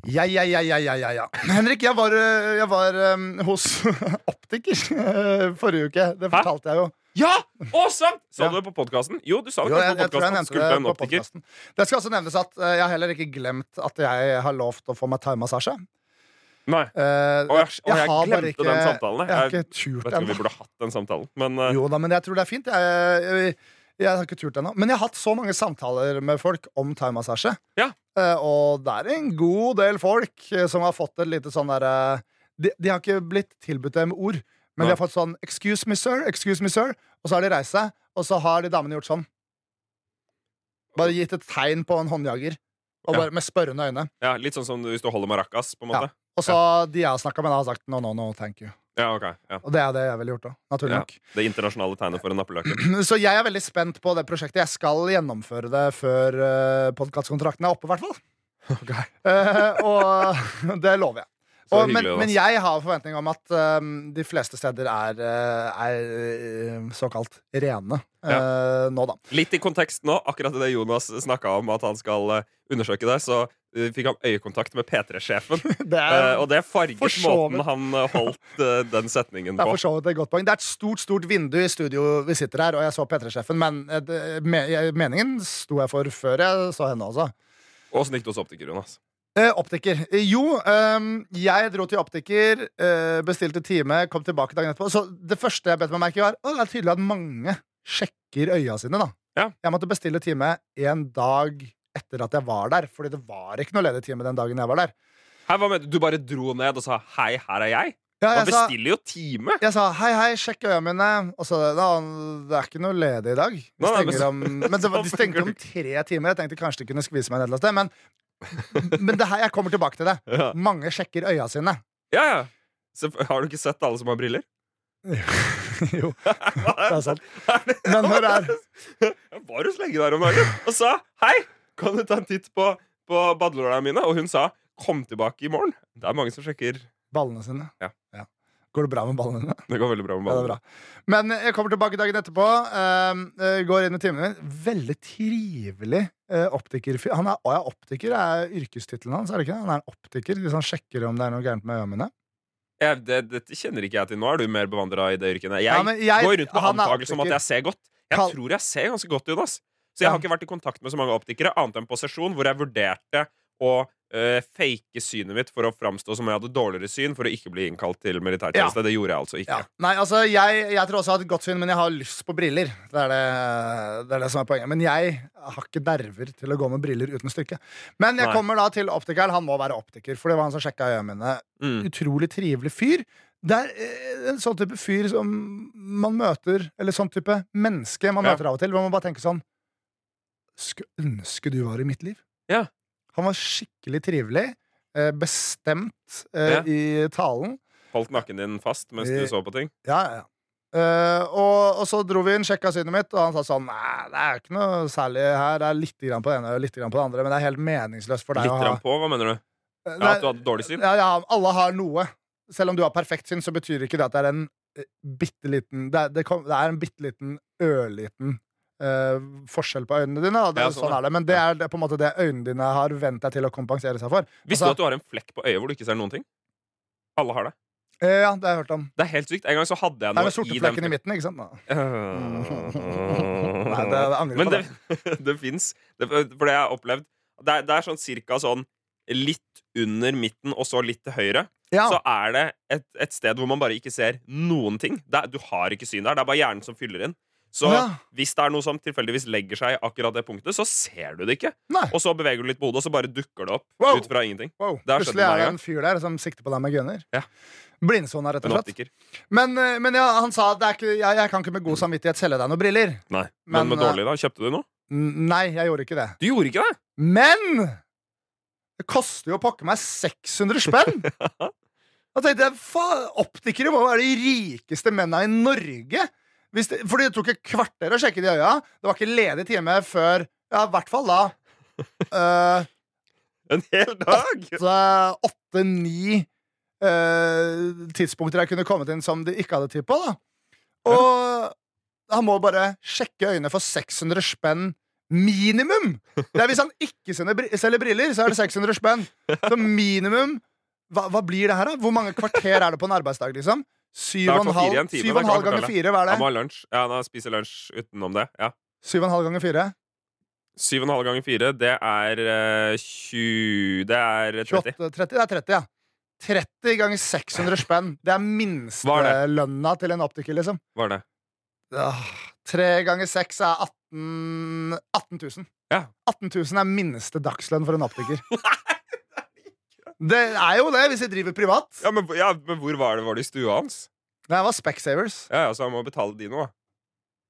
[SPEAKER 2] Ja, ja, ja, ja, ja, ja, ja. Henrik, jeg var, øh, jeg var øhm, hos optiker øh, forrige uke. Det
[SPEAKER 3] Hæ?
[SPEAKER 2] fortalte jeg jo.
[SPEAKER 3] Ja! Å, sant! Sa
[SPEAKER 2] Ja.
[SPEAKER 3] du det på podkasten? Jo, du sa det
[SPEAKER 2] jo jeg,
[SPEAKER 3] kanskje på
[SPEAKER 2] jeg tror jeg
[SPEAKER 3] podkasten.
[SPEAKER 2] nevnte
[SPEAKER 3] Skulle
[SPEAKER 2] det
[SPEAKER 3] en
[SPEAKER 2] på
[SPEAKER 3] optiker.
[SPEAKER 2] podcasten. Det skal også nevnes at øh, jeg har heller ikke glemt at jeg har lovt å få meg thaimassasje.
[SPEAKER 3] Nei.
[SPEAKER 2] Uh,
[SPEAKER 3] Å, jeg, å, jeg
[SPEAKER 2] har bare
[SPEAKER 3] glemte
[SPEAKER 2] ikke-
[SPEAKER 3] den samtalen.
[SPEAKER 2] Jeg har
[SPEAKER 3] Jeg,
[SPEAKER 2] ikke turt
[SPEAKER 3] vet ikke om
[SPEAKER 2] ennå.
[SPEAKER 3] vi burde hatt den samtalen, men eh,
[SPEAKER 2] Jo da, men jeg tror det er fint. Jeg, jeg, jeg har ikke turt det ennå. Men jeg har hatt så mange samtaler med folk om thaimassasje.
[SPEAKER 3] Ja.
[SPEAKER 2] Eh, og det er en god del folk eh, som har fått et lite sånn derre de, de har ikke blitt tilbudt det med ord, men
[SPEAKER 3] Nei.
[SPEAKER 2] de har fått sånn 'excuse me, sir', 'excuse me, sir', og så har de reist seg, og så har de damene gjort sånn. Bare gitt et tegn på en håndjager, og
[SPEAKER 3] Ja.
[SPEAKER 2] bare, med spørrende øyne.
[SPEAKER 3] ja, litt sånn som hvis du holder maracas, på en
[SPEAKER 2] Ja.
[SPEAKER 3] måte.
[SPEAKER 2] Og så de jeg har snakka med, da, har sagt 'no, no, no, thank you'.
[SPEAKER 3] Ja, ok. Ja.
[SPEAKER 2] Og det er det jeg ville gjort òg, naturlig
[SPEAKER 3] Ja.
[SPEAKER 2] nok.
[SPEAKER 3] Det internasjonale tegnet for en nappeløke.
[SPEAKER 2] Så jeg er veldig spent på det prosjektet. Jeg skal gjennomføre det før uh, podkastkontrakten er oppe, i hvert fall. Eh, og det lover jeg.
[SPEAKER 3] Så
[SPEAKER 2] Og, men,
[SPEAKER 3] hyggelig,
[SPEAKER 2] men
[SPEAKER 3] Jonas.
[SPEAKER 2] jeg har forventning om at eh, de fleste steder er, eh, er eh, såkalt rene eh, nå, da.
[SPEAKER 3] Litt i kontekst nå, akkurat det Jonas snakka om at han skal eh, undersøke det, så eh, fikk han øyekontakt med P3-sjefen.
[SPEAKER 2] Det
[SPEAKER 3] eh,
[SPEAKER 2] er,
[SPEAKER 3] og det farget
[SPEAKER 2] for så
[SPEAKER 3] måten
[SPEAKER 2] vidt.
[SPEAKER 3] han eh, holdt eh, den setningen
[SPEAKER 2] det er
[SPEAKER 3] på.
[SPEAKER 2] for så vidt et godt poeng. Det er et stort stort vindu i studio vi sitter her, og jeg så P3-sjefen, men eh, det- me, jeg- meningen sto jeg for før jeg så henne også.
[SPEAKER 3] Åssen gikk det hos optiker, Jonas?
[SPEAKER 2] Eh, optiker. Eh, Jo, ehm, jeg dro til optiker, eh, bestilte time, kom tilbake dagen etterpå. Så det første jeg bet meg merke i, var at det er tydelig at mange sjekker øya sine. da
[SPEAKER 3] Ja.
[SPEAKER 2] Jeg måtte bestille time en dag etter at jeg var der, fordi det var ikke noe ledig time den dagen jeg var der.
[SPEAKER 3] Hei, hva mener du? Du bare dro ned og sa 'hei, her er jeg'?
[SPEAKER 2] Ja,
[SPEAKER 3] Man
[SPEAKER 2] jeg, sa,
[SPEAKER 3] bestiller jo time!
[SPEAKER 2] jeg sa hei, hei, sjekk øya mine. Og så da, det er ikke noe ledig i dag. De
[SPEAKER 3] Nei, nei, men
[SPEAKER 2] stenger
[SPEAKER 3] så-
[SPEAKER 2] om, men det var, de
[SPEAKER 3] så
[SPEAKER 2] stengte
[SPEAKER 3] funker
[SPEAKER 2] om
[SPEAKER 3] det
[SPEAKER 2] tre timer. Jeg tenkte kanskje de kunne skvise meg ned et eller annet sted, men, men det her, jeg kommer tilbake til det.
[SPEAKER 3] Ja,
[SPEAKER 2] Mange sjekker øya sine.
[SPEAKER 3] ja. ja. Så, har du ikke sett alle som har briller?
[SPEAKER 2] jo, det
[SPEAKER 3] Hva
[SPEAKER 2] er sant. Men hør her.
[SPEAKER 3] Jeg var hos legen der om dagen og sa 'hei, kan du ta en titt på, på badelårene mine?' Og hun sa 'kom tilbake i morgen'. Det er mange som sjekker.
[SPEAKER 2] Ballene sine.
[SPEAKER 3] Ja.
[SPEAKER 2] Går det bra med ballene dine?
[SPEAKER 3] Det går veldig bra
[SPEAKER 2] Ja,
[SPEAKER 3] med
[SPEAKER 2] det er
[SPEAKER 3] badelårene.
[SPEAKER 2] bra. Men jeg kommer tilbake dagen etterpå. ehm, eh, går inn i timen min. Veldig trivelig eh, optikerfyr. Han er, å, ja, optiker er yrkestittelen hans, er det ikke? det? Han er en optiker hvis han sjekker om det er noe gærent med øynene mine.
[SPEAKER 3] Jeg, det, dette kjenner ikke jeg til. Nå er du mer bevandra i det yrket. enn Jeg,
[SPEAKER 2] Ja,
[SPEAKER 3] jeg
[SPEAKER 2] men jeg-
[SPEAKER 3] går rundt med
[SPEAKER 2] han er
[SPEAKER 3] antakelse om at
[SPEAKER 2] optiker.
[SPEAKER 3] jeg ser godt. Jeg
[SPEAKER 2] Kall-
[SPEAKER 3] tror jeg ser ganske godt, Jonas. Så jeg
[SPEAKER 2] Ja.
[SPEAKER 3] har ikke vært i kontakt med så mange optikere, annet enn på sesjon, hvor jeg vurderte å eh, fake synet mitt for å framstå som om jeg hadde dårligere syn for å ikke bli innkalt til
[SPEAKER 2] Ja.
[SPEAKER 3] militærtjeneste. Det gjorde jeg altså ikke.
[SPEAKER 2] Ja. Nei, altså, jeg, jeg tror også jeg har et godt syn, men jeg har lyst på briller. Det er det, det er det som er poenget. Men jeg har ikke nerver til å gå med briller uten styrke. Men jeg
[SPEAKER 3] Nei.
[SPEAKER 2] kommer da til optikeren. Han må være optiker, for det var han som sjekka øynene mine.
[SPEAKER 3] Mm.
[SPEAKER 2] Utrolig trivelig fyr. Det er eh, en sånn type fyr som man møter, eller sånn type menneske man
[SPEAKER 3] Ja.
[SPEAKER 2] møter av og til, hvor man bare tenker sånn Skulle ønske du var i mitt liv.
[SPEAKER 3] Ja.
[SPEAKER 2] Han var skikkelig trivelig. eh, Bestemt eh,
[SPEAKER 3] Ja.
[SPEAKER 2] i talen.
[SPEAKER 3] Holdt nakken din fast mens du
[SPEAKER 2] Eh,
[SPEAKER 3] så på ting.
[SPEAKER 2] Ja, ja, ja. Eh, og, og så dro vi inn, sjekka synet mitt, og han sa sånn Nei, det er ikke noe særlig her. Det er litt grann på det ene og litt grann på det andre, men det er helt meningsløst for deg
[SPEAKER 3] Litt
[SPEAKER 2] å ha
[SPEAKER 3] rann på, hva mener du?
[SPEAKER 2] Eh,
[SPEAKER 3] Ja,
[SPEAKER 2] nei,
[SPEAKER 3] at du hadde dårlig syn?
[SPEAKER 2] ja, ja, alle har noe. Selv om du har perfekt syn, så betyr ikke det at det er en eh, bitte liten Det, er- det, kom- det er en bitte liten, ørliten eh, forskjell på øynene dine. Da. Det,
[SPEAKER 3] Ja,
[SPEAKER 2] sånn,
[SPEAKER 3] sånn, ja.
[SPEAKER 2] er det. Men det er det, på en måte det øynene dine har vent deg til å kompensere seg for. Altså-
[SPEAKER 3] Visste du at du har en flekk på øyet hvor du ikke ser noen ting? Alle har det.
[SPEAKER 2] Eh, ja, det har jeg hørt om.
[SPEAKER 3] Det er helt sykt. En gang så hadde
[SPEAKER 2] Det er
[SPEAKER 3] jeg noe
[SPEAKER 2] den sorte
[SPEAKER 3] i den
[SPEAKER 2] flekken i midten, ikke sant? Nei,
[SPEAKER 3] Nei,
[SPEAKER 2] det, jeg angrer
[SPEAKER 3] Men
[SPEAKER 2] på
[SPEAKER 3] det,
[SPEAKER 2] det.
[SPEAKER 3] det fins. Det, for det jeg har opplevd det er, det er sånn cirka sånn litt under midten og så litt til høyre.
[SPEAKER 2] Ja.
[SPEAKER 3] Så er det et, et sted hvor man bare ikke ser noen ting. Det, er- du har ikke syn der. Det er bare hjernen som fyller inn. Så
[SPEAKER 2] Ja.
[SPEAKER 3] hvis det er noe som tilfeldigvis legger seg i akkurat det punktet, så ser du det ikke.
[SPEAKER 2] Nei.
[SPEAKER 3] Og så beveger du litt på hodet, og så bare dukker det opp
[SPEAKER 2] Wow.
[SPEAKER 3] ut fra ingenting.
[SPEAKER 2] Wow,
[SPEAKER 3] Det har skjedd
[SPEAKER 2] Plutselig
[SPEAKER 3] meg
[SPEAKER 2] er
[SPEAKER 3] en
[SPEAKER 2] det
[SPEAKER 3] gang.
[SPEAKER 2] en fyr der som sikter på deg med gunner.
[SPEAKER 3] Ja.
[SPEAKER 2] Blindsona, rett
[SPEAKER 3] En
[SPEAKER 2] og slett.
[SPEAKER 3] optiker.
[SPEAKER 2] Men, eh, men ja, han sa at det er ikke, jeg, jeg kan ikke med god samvittighet selge deg noen briller.
[SPEAKER 3] Nei.
[SPEAKER 2] Men,
[SPEAKER 3] Men, med
[SPEAKER 2] eh,
[SPEAKER 3] dårlig, da? Kjøpte du noe?
[SPEAKER 2] N- Nei, jeg gjorde ikke det.
[SPEAKER 3] Du gjorde ikke det!
[SPEAKER 2] Men det koster jo å pakke meg 600 spenn! Da tenkte jeg, faen, Optikere må være de rikeste mennene i Norge! Hvis det, fordi det tok et kvarter å sjekke de øya. Det var ikke ledig time før Ja, i hvert fall da. eh,
[SPEAKER 3] En hel dag!
[SPEAKER 2] åtte-ni eh, tidspunkter jeg kunne kommet inn som de ikke hadde tid på. Da. Og han må bare sjekke øynene for 600 spenn minimum! Det er Hvis han ikke sender bri- selger briller, så er det 600 spenn. Så minimum hva, hva blir det her, da? Hvor mange kvarter er det på en arbeidsdag? liksom? Syv
[SPEAKER 3] Det er
[SPEAKER 2] og en
[SPEAKER 3] kvarter i
[SPEAKER 2] halv
[SPEAKER 3] en time,
[SPEAKER 2] syv
[SPEAKER 3] det
[SPEAKER 2] og en
[SPEAKER 3] kan
[SPEAKER 2] halv
[SPEAKER 3] jeg
[SPEAKER 2] ganger
[SPEAKER 3] fortelle.
[SPEAKER 2] fire, hva er
[SPEAKER 3] Han må
[SPEAKER 2] det?
[SPEAKER 3] ha lunsj. Ja, han har- spiser lunsj utenom det. Ja.
[SPEAKER 2] Syv og en halv ganger fire?
[SPEAKER 3] Syv og en halv ganger fire, det er eh, 20 Det er 30.
[SPEAKER 2] 28, 30, det er 30, ja. 30 ganger 600 spenn. Det er minstelønna til en optiker, liksom.
[SPEAKER 3] Var det.
[SPEAKER 2] Åh, Ah, Tre ganger seks er 18 18 000.
[SPEAKER 3] Ja.
[SPEAKER 2] 18 000 er minste dagslønn for en optiker. Det er jo det, hvis jeg driver privat.
[SPEAKER 3] Ja men, ja, men hvor var det? Var det i stua hans?
[SPEAKER 2] Det var Specsavers.
[SPEAKER 3] Ja, ja, Så han må betale de noe. da.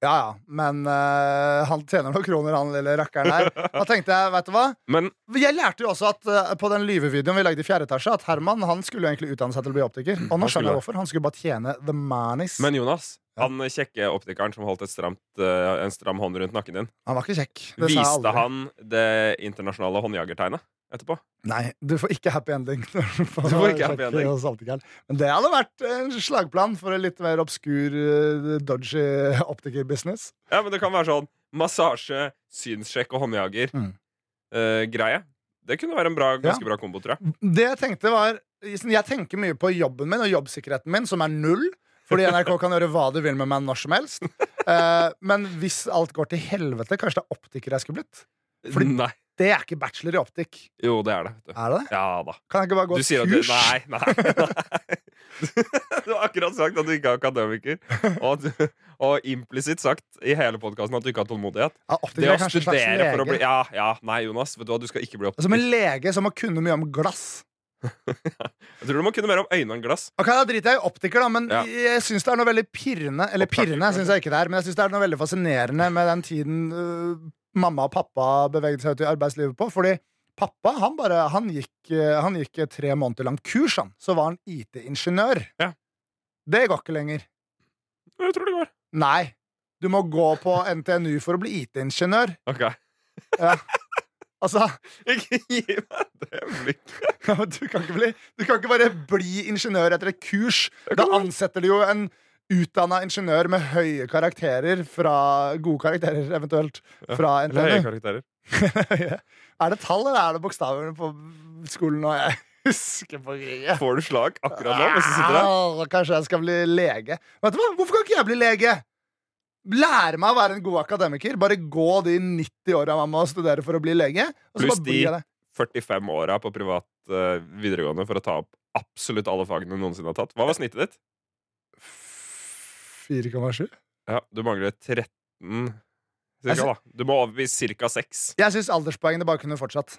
[SPEAKER 2] Ja, ja. Men eh, han tjener noen kroner, han lille rakkeren her. Da tenkte jeg, vet du hva?
[SPEAKER 3] Men
[SPEAKER 2] Jeg lærte jo også at eh, på den lyvevideoen vi lagde i fjerde etasje, at Herman han skulle jo egentlig utdanne seg til å bli optiker. Og nå skjønner jeg
[SPEAKER 3] han skulle.
[SPEAKER 2] hvorfor. Han skulle bare tjene the manis.
[SPEAKER 3] Men Jonas,
[SPEAKER 2] Ja.
[SPEAKER 3] han eh, kjekke optikeren som holdt et stramt, eh, en stram hånd rundt nakken din,
[SPEAKER 2] han var ikke kjekk. Det sa jeg
[SPEAKER 3] viste
[SPEAKER 2] aldri.
[SPEAKER 3] han det internasjonale håndjagertegnet etterpå?
[SPEAKER 2] Nei, du får ikke happy ending. Du får,
[SPEAKER 3] får ikke happy ending.
[SPEAKER 2] hos optikeren. Men det hadde vært en slagplan for en litt mer obskur, eh, dodgy optikerbusiness.
[SPEAKER 3] Ja, men det kan være sånn massasje, synssjekk og håndjager.
[SPEAKER 2] Mm.
[SPEAKER 3] eh, greie. Det kunne være en bra, ganske bra kombo, tror jeg.
[SPEAKER 2] Det jeg tenkte var sånn, Jeg tenker mye på jobben min og jobbsikkerheten min, som er null. Fordi NRK kan gjøre hva de vil med meg når som helst. Eh, men hvis alt går til helvete, kanskje det er optiker jeg skulle blitt? Fordi-
[SPEAKER 3] Nei.
[SPEAKER 2] Det er ikke bachelor i optikk.
[SPEAKER 3] Jo, det er det. Vet du.
[SPEAKER 2] Er det det?
[SPEAKER 3] Ja da.
[SPEAKER 2] Kan jeg ikke bare gå
[SPEAKER 3] Du sier at du,
[SPEAKER 2] kurs?
[SPEAKER 3] nei, nei, nei. Du har akkurat sagt at du ikke er akademiker, og, at du- og implisitt sagt i hele podkasten at du ikke har tålmodighet.
[SPEAKER 2] Ja,
[SPEAKER 3] Det
[SPEAKER 2] optiker
[SPEAKER 3] å
[SPEAKER 2] er kanskje en slags
[SPEAKER 3] studere for å bli
[SPEAKER 2] lege. Altså,
[SPEAKER 3] Ja, ja, nei, Jonas. Vet du hva, du skal ikke bli
[SPEAKER 2] Som en
[SPEAKER 3] optiker.
[SPEAKER 2] lege som må kunne mye om glass.
[SPEAKER 3] Jeg tror du må kunne mer om øyne enn glass.
[SPEAKER 2] Ok, Da driter jeg i optiker, da, men
[SPEAKER 3] Ja.
[SPEAKER 2] jeg syns det er noe veldig pirrende Eller
[SPEAKER 3] Opptaker,
[SPEAKER 2] pirrende syns jeg ikke det er, men jeg synes det er noe veldig fascinerende med den tiden øh, mamma og pappa beveget seg ut i arbeidslivet på. Fordi pappa han bare, han gikk, øh, han gikk et tre måneder langt kurs, han. Så var han IT-ingeniør.
[SPEAKER 3] Ja.
[SPEAKER 2] Det går ikke lenger.
[SPEAKER 3] Jeg tror det går.
[SPEAKER 2] Nei. Du må gå på NTNU for å bli IT-ingeniør.
[SPEAKER 3] Ok.
[SPEAKER 2] Altså,
[SPEAKER 3] Ikke gi meg det blikket.
[SPEAKER 2] Ja, men du, kan ikke bli, du kan ikke bare bli ingeniør etter et kurs.
[SPEAKER 3] Det
[SPEAKER 2] Da
[SPEAKER 3] kan du.
[SPEAKER 2] ansetter du jo en utdanna ingeniør med høye karakterer fra Gode karakterer, eventuelt, fra
[SPEAKER 3] Eller høye
[SPEAKER 2] NTNU.
[SPEAKER 3] karakterer.
[SPEAKER 2] er det tall, eller er det bokstaver på skolen? Og jeg husker på ikke.
[SPEAKER 3] Får du slag akkurat nå mens du sitter der?
[SPEAKER 2] Ah, Kanskje jeg skal bli lege. Vet du hva? Hvorfor kan ikke jeg bli lege? Lære meg å være en god akademiker. Bare gå de 90 åra man må studere for å bli lege. og så
[SPEAKER 3] Pluss
[SPEAKER 2] bare
[SPEAKER 3] de
[SPEAKER 2] blir jeg det.
[SPEAKER 3] 45-åra på privat eh, videregående for å ta opp absolutt alle fagene du noensinne har tatt. Hva var snittet ditt?
[SPEAKER 2] 4,7?
[SPEAKER 3] Ja, du mangler 13 cirka, da. Du må over i cirka 6.
[SPEAKER 2] Jeg syns alderspoengene bare kunne fortsatt.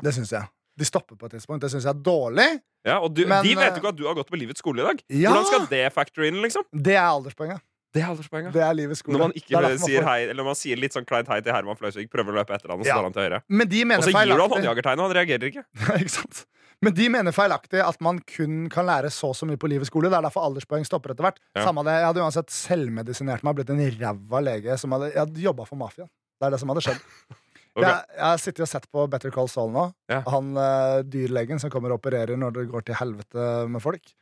[SPEAKER 2] Det syns jeg. De stopper på et tidspunkt. Det syns jeg er dårlig.
[SPEAKER 3] Ja, og du,
[SPEAKER 2] Men,
[SPEAKER 3] de
[SPEAKER 2] eh,
[SPEAKER 3] vet jo ikke at du har gått på livets skole i dag.
[SPEAKER 2] Ja.
[SPEAKER 3] Hvordan skal det factor inn, liksom?
[SPEAKER 2] Det er alderspoenget.
[SPEAKER 3] Det er alderspoenget.
[SPEAKER 2] Det er livets skole.
[SPEAKER 3] Når man
[SPEAKER 2] Det
[SPEAKER 3] ikke
[SPEAKER 2] er derfor man
[SPEAKER 3] sier
[SPEAKER 2] får-
[SPEAKER 3] hei, eller når man sier litt sånn kleint hei til Herman Fløysvik, prøver å løpe etter han, og så
[SPEAKER 2] Ja.
[SPEAKER 3] står han til høyre.
[SPEAKER 2] Men de mener
[SPEAKER 3] Og så gir du han
[SPEAKER 2] feilaktig-
[SPEAKER 3] håndjagertegnet, og han reagerer ikke.
[SPEAKER 2] Ikke sant? Men de mener feilaktig at man kun kan lære så og så mye på livets skole. Det er derfor alderspoeng stopper etter hvert.
[SPEAKER 3] Ja.
[SPEAKER 2] Samme det, Jeg hadde uansett selvmedisinert meg, blitt en ræva lege som hadde, jeg hadde jobba for mafiaen. Det er det som hadde skjedd.
[SPEAKER 3] Ok.
[SPEAKER 2] Jeg, jeg sitter og sett på Better Call Saul nå.
[SPEAKER 3] Ja.
[SPEAKER 2] Han eh, dyrlegen som kommer og opererer når det går til helvete med folk.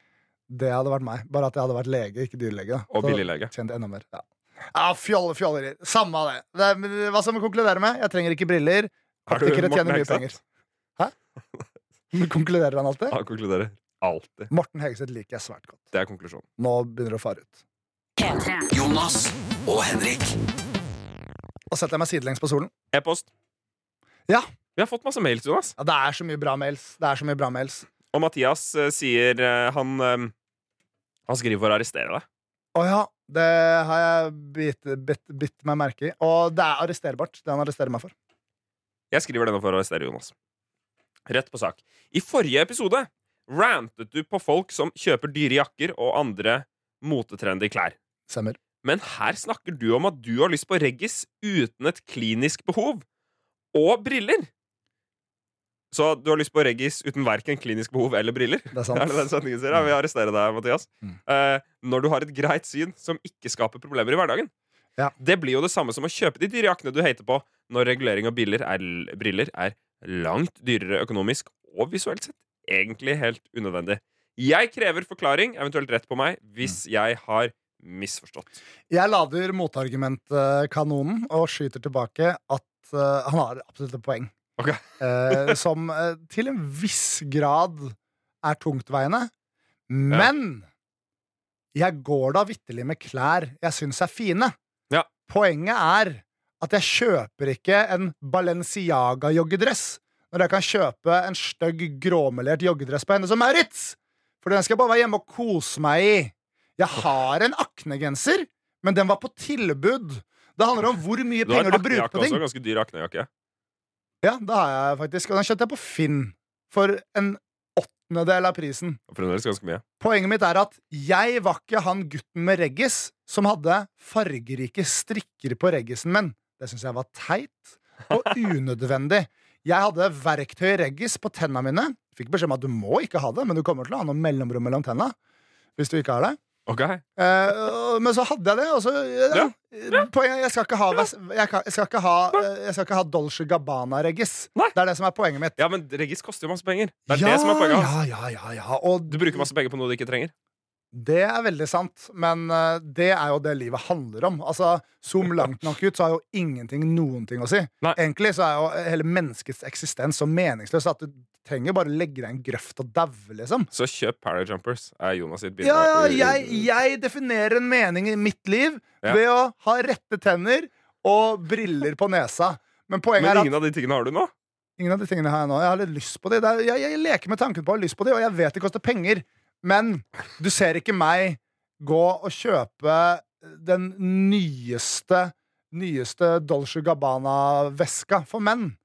[SPEAKER 2] Det hadde vært meg. Bare at jeg hadde vært lege, ikke dyrlege. da.
[SPEAKER 3] Og
[SPEAKER 2] Så
[SPEAKER 3] billiglege.
[SPEAKER 2] Tjente enda mer. Ja. Ja, fjolle, fjolleri. Samme av det. det. er- Hva skal vi konkludere med? Jeg trenger ikke briller.
[SPEAKER 3] Har du
[SPEAKER 2] Praktikere
[SPEAKER 3] Morten
[SPEAKER 2] tjener mye
[SPEAKER 3] Hegseth?
[SPEAKER 2] penger. Hæ? Men konkluderer han alltid?
[SPEAKER 3] Han konkluderer alltid.
[SPEAKER 2] Morten Hegseth liker jeg svært godt.
[SPEAKER 3] Det er konklusjonen.
[SPEAKER 2] Nå begynner det å fare ut.
[SPEAKER 1] Jonas og Henrik.
[SPEAKER 2] Og setter jeg meg sidelengs på solen.
[SPEAKER 3] E-post.
[SPEAKER 2] Ja.
[SPEAKER 3] Vi har fått masse mails, Jonas.
[SPEAKER 2] Ja, det er så mye bra mails. Det er så mye bra mails.
[SPEAKER 3] Og Mathias eh, sier eh, han, eh, han skriver for å arrestere deg.
[SPEAKER 2] Å ja, det har jeg bitt, bitt, bitt meg merke i. Og det er arresterbart, det han arresterer meg for.
[SPEAKER 3] Jeg skriver denne for å arrestere Jonas. Rett på sak. I forrige episode rantet du på folk som kjøper dyre jakker og andre motetrendy klær.
[SPEAKER 2] Stemmer.
[SPEAKER 3] Men her snakker du om at du har lyst på reggis uten et klinisk behov. Og briller! Så du har lyst på reggis uten verken klinisk behov eller briller?
[SPEAKER 2] Det er
[SPEAKER 3] Er det den
[SPEAKER 2] sant.
[SPEAKER 3] setningen sier? Ja, vi arresterer deg, Mathias.
[SPEAKER 2] Mm.
[SPEAKER 3] Eh, når du har et greit syn som ikke skaper problemer i hverdagen.
[SPEAKER 2] Ja.
[SPEAKER 3] Det blir jo det samme som å kjøpe de dyre jakkene du hater på, når regulering av biler er, l- briller er langt dyrere økonomisk og visuelt sett egentlig helt unødvendig. Jeg krever forklaring, eventuelt rett på meg, hvis
[SPEAKER 2] Mm.
[SPEAKER 3] jeg har misforstått.
[SPEAKER 2] Jeg lader motargumentkanonen og skyter tilbake at eh, han har absolutt et poeng.
[SPEAKER 3] Ok.
[SPEAKER 2] Eh, som eh, til en viss grad er tungtveiende. Men jeg går da vitterlig med klær jeg syns er fine.
[SPEAKER 3] Ja.
[SPEAKER 2] Poenget er at jeg kjøper ikke en Balenciaga-joggedress når jeg kan kjøpe en stygg, gråmelert joggedress på henne som Maurits! For den skal jeg bare være hjemme og kose meg i. Jeg har en aknegenser, men den var på tilbud. Det handler om hvor mye
[SPEAKER 3] Du har
[SPEAKER 2] penger du
[SPEAKER 3] en
[SPEAKER 2] bruker
[SPEAKER 3] aknejakke
[SPEAKER 2] på ting.
[SPEAKER 3] også, ganske dyr aknejakke.
[SPEAKER 2] Ja, det har jeg faktisk. Og den kjøpte jeg på Finn for en åttendedel av prisen.
[SPEAKER 3] Fremdeles ganske mye.
[SPEAKER 2] Poenget mitt er at jeg var ikke han gutten med reggis som hadde fargerike strikker på reggisen min. Det syns jeg var teit og unødvendig. Jeg hadde verktøy i reggis på tenna mine. Fikk beskjed om at du må ikke ha det, men du kommer til å ha noe mellomrom mellom tenna. Hvis du ikke har det.
[SPEAKER 3] Ok,
[SPEAKER 2] Eh, og- men så hadde jeg det, og så ja. Eh, Poenget er, jeg skal ikke ha, Ves- jeg kan- jeg skal ikke ha, eh, jeg skal ikke ha Dolce Gabbana-reggis.
[SPEAKER 3] Nei.
[SPEAKER 2] Det er det som er poenget mitt.
[SPEAKER 3] Ja, men reggis koster jo masse penger. Det er det som er poenget hans.
[SPEAKER 2] Ja, ja, ja, ja. Og
[SPEAKER 3] Du bruker masse penger på noe du ikke trenger.
[SPEAKER 2] Det er veldig sant, men eh, det er jo det livet handler om. Altså, Zoom langt nok ut, så har jo ingenting noen ting å si.
[SPEAKER 3] Nei.
[SPEAKER 2] Egentlig så er jo hele menneskets eksistens så meningsløs at du trenger bare legge deg i en grøft og daue, liksom.
[SPEAKER 3] Så kjøp Power Jumpers, er Jonas sitt
[SPEAKER 2] Ja,
[SPEAKER 3] bidrag.
[SPEAKER 2] ja, jeg, jeg definerer en mening i mitt liv
[SPEAKER 3] Ja.
[SPEAKER 2] ved å ha rette tenner og briller på nesa. Men poenget
[SPEAKER 3] Men
[SPEAKER 2] er at
[SPEAKER 3] ingen av de tingene har du nå?
[SPEAKER 2] Ingen av de tingene har jeg nå. Jeg har litt lyst på de. Det er, jeg, jeg leker med tanken på å ha lyst på de, og jeg vet det koster penger. Men du ser ikke meg gå og kjøpe den nyeste, nyeste Dolce Gabbana-veska for menn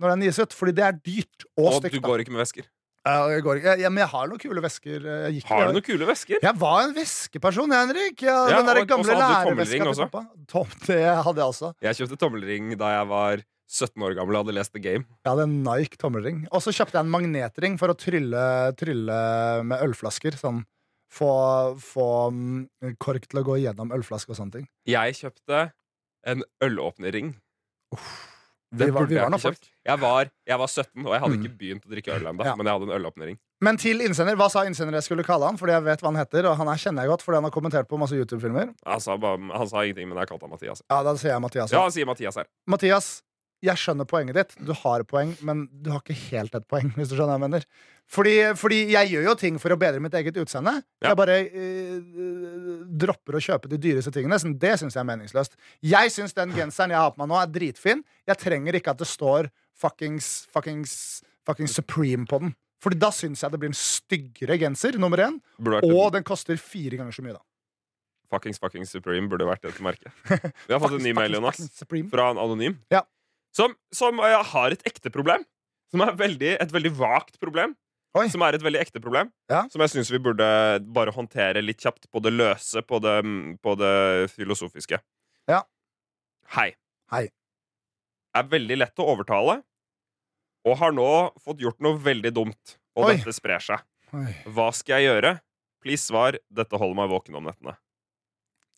[SPEAKER 2] når den gis ut, fordi det er dyrt og
[SPEAKER 3] Og du
[SPEAKER 2] stygt. da.
[SPEAKER 3] går ikke med vesker.
[SPEAKER 2] Ja, jeg går ikke- jeg, ja, men jeg har noen kule vesker. eh, Jeg gikk
[SPEAKER 3] Har du noen kule vesker?
[SPEAKER 2] jeg var en veskeperson, Henrik. Jeg,
[SPEAKER 3] Ja,
[SPEAKER 2] den der
[SPEAKER 3] og- og
[SPEAKER 2] gamle
[SPEAKER 3] så hadde du
[SPEAKER 2] lærerveska
[SPEAKER 3] tommelring
[SPEAKER 2] til
[SPEAKER 3] også.
[SPEAKER 2] pappa. Tom, det hadde jeg også.
[SPEAKER 3] Jeg kjøpte tommelring da jeg var 17 år gammel og hadde lest The Game.
[SPEAKER 2] Jeg hadde en Nike tommelring. Og så kjøpte jeg en magnetring for å trylle, trylle med ølflasker. Sånn. Få, få mm, kork til å gå gjennom ølflaske og sånne ting.
[SPEAKER 3] Jeg kjøpte en ølåpnerring.
[SPEAKER 2] Vi var- vi var noen folk.
[SPEAKER 3] Jeg var, jeg var 17, og jeg hadde
[SPEAKER 2] Mm.
[SPEAKER 3] ikke begynt å drikke øl ennå.
[SPEAKER 2] Ja.
[SPEAKER 3] Men jeg hadde en ølåpnering.
[SPEAKER 2] Men til innsender, hva sa innsender jeg skulle kalle han? Fordi jeg vet hva han heter, og han her kjenner jeg godt fordi han har kommentert på masse YouTube-filmer.
[SPEAKER 3] Han sa, bare, han sa ingenting, men jeg kalte han Mathias.
[SPEAKER 2] Ja, da sier jeg Mathias.
[SPEAKER 3] Ja,
[SPEAKER 2] Ja.
[SPEAKER 3] han sier Mathias her.
[SPEAKER 2] Mathias, jeg skjønner poenget ditt. Du har poeng, men du har ikke helt et poeng, hvis du skjønner hva jeg mener. Fordi, fordi jeg gjør jo ting for å bedre mitt eget utseende.
[SPEAKER 3] Ja.
[SPEAKER 2] Jeg bare eh, dropper å kjøpe de dyreste tingene. Så det syns jeg er meningsløst. Jeg syns den genseren jeg har på meg nå, er dritfin. Jeg trenger ikke at det står fuckings, fuckings, fuckings Supreme på den. Fordi da syns jeg det blir en styggere genser, nummer én.
[SPEAKER 3] Burde vært
[SPEAKER 2] Og
[SPEAKER 3] et,
[SPEAKER 2] den koster fire ganger så mye, da.
[SPEAKER 3] fuckings fucking Supreme burde vært et merke. Vi har fått en ny mail,
[SPEAKER 2] Fuckings,
[SPEAKER 3] Jonas,
[SPEAKER 2] fuckings Supreme.
[SPEAKER 3] fra en anonym.
[SPEAKER 2] Ja.
[SPEAKER 3] Som, som eh, har et ekte problem. Som er veldig, et veldig vagt problem.
[SPEAKER 2] Oi.
[SPEAKER 3] Som er et veldig ekte problem.
[SPEAKER 2] Ja.
[SPEAKER 3] Som jeg syns vi burde bare håndtere litt kjapt. På det løse, på det, på det filosofiske.
[SPEAKER 2] Ja.
[SPEAKER 3] Hei.
[SPEAKER 2] Hei.
[SPEAKER 3] Er veldig lett å overtale. Og har nå fått gjort noe veldig dumt. Og
[SPEAKER 2] Oi.
[SPEAKER 3] dette sprer seg.
[SPEAKER 2] Oi.
[SPEAKER 3] Hva skal jeg gjøre? Please svar. Dette holder meg våken om nettene.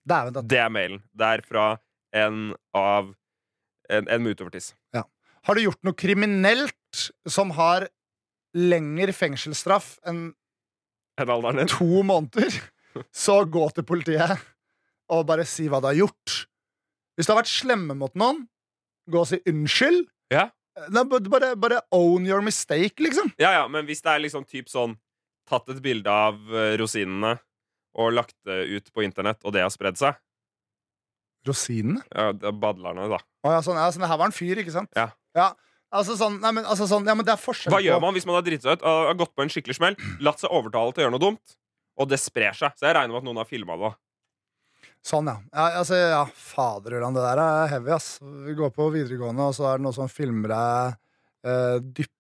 [SPEAKER 2] Dæven, da.
[SPEAKER 3] Det er mailen. Det er fra en av En, en med utovertiss.
[SPEAKER 2] Har du gjort noe kriminelt som har lengre fengselsstraff enn
[SPEAKER 3] En alderen din.
[SPEAKER 2] to måneder, så gå til politiet og bare si hva du har gjort. Hvis du har vært slemme mot noen, gå og si unnskyld.
[SPEAKER 3] Ja.
[SPEAKER 2] Nei, bare, bare, bare own your mistake, liksom.
[SPEAKER 3] Ja, ja, men hvis det er liksom typ sånn Tatt et bilde av eh, rosinene og lagt det ut på internett, og det har spredd seg
[SPEAKER 2] Rosinene?
[SPEAKER 3] ja, det er Badlerne, da.
[SPEAKER 2] Å, ja, sånn, ja, sånn, her var en fyr, ikke sant?
[SPEAKER 3] Ja.
[SPEAKER 2] altså sånn, nei, men, altså sånn, ja, men det er forskjell
[SPEAKER 3] Hva gjør man hvis man har driti seg ut og har gått på en skikkelig smell? Latt seg overtale til å gjøre noe dumt, og det sprer seg. Så jeg regner med at noen har filma det. da.
[SPEAKER 2] Sånn, ja. ja, altså, ja Faderullan, det der er heavy, ass. Vi går på videregående, og så er det noen som filmer deg eh, dyppe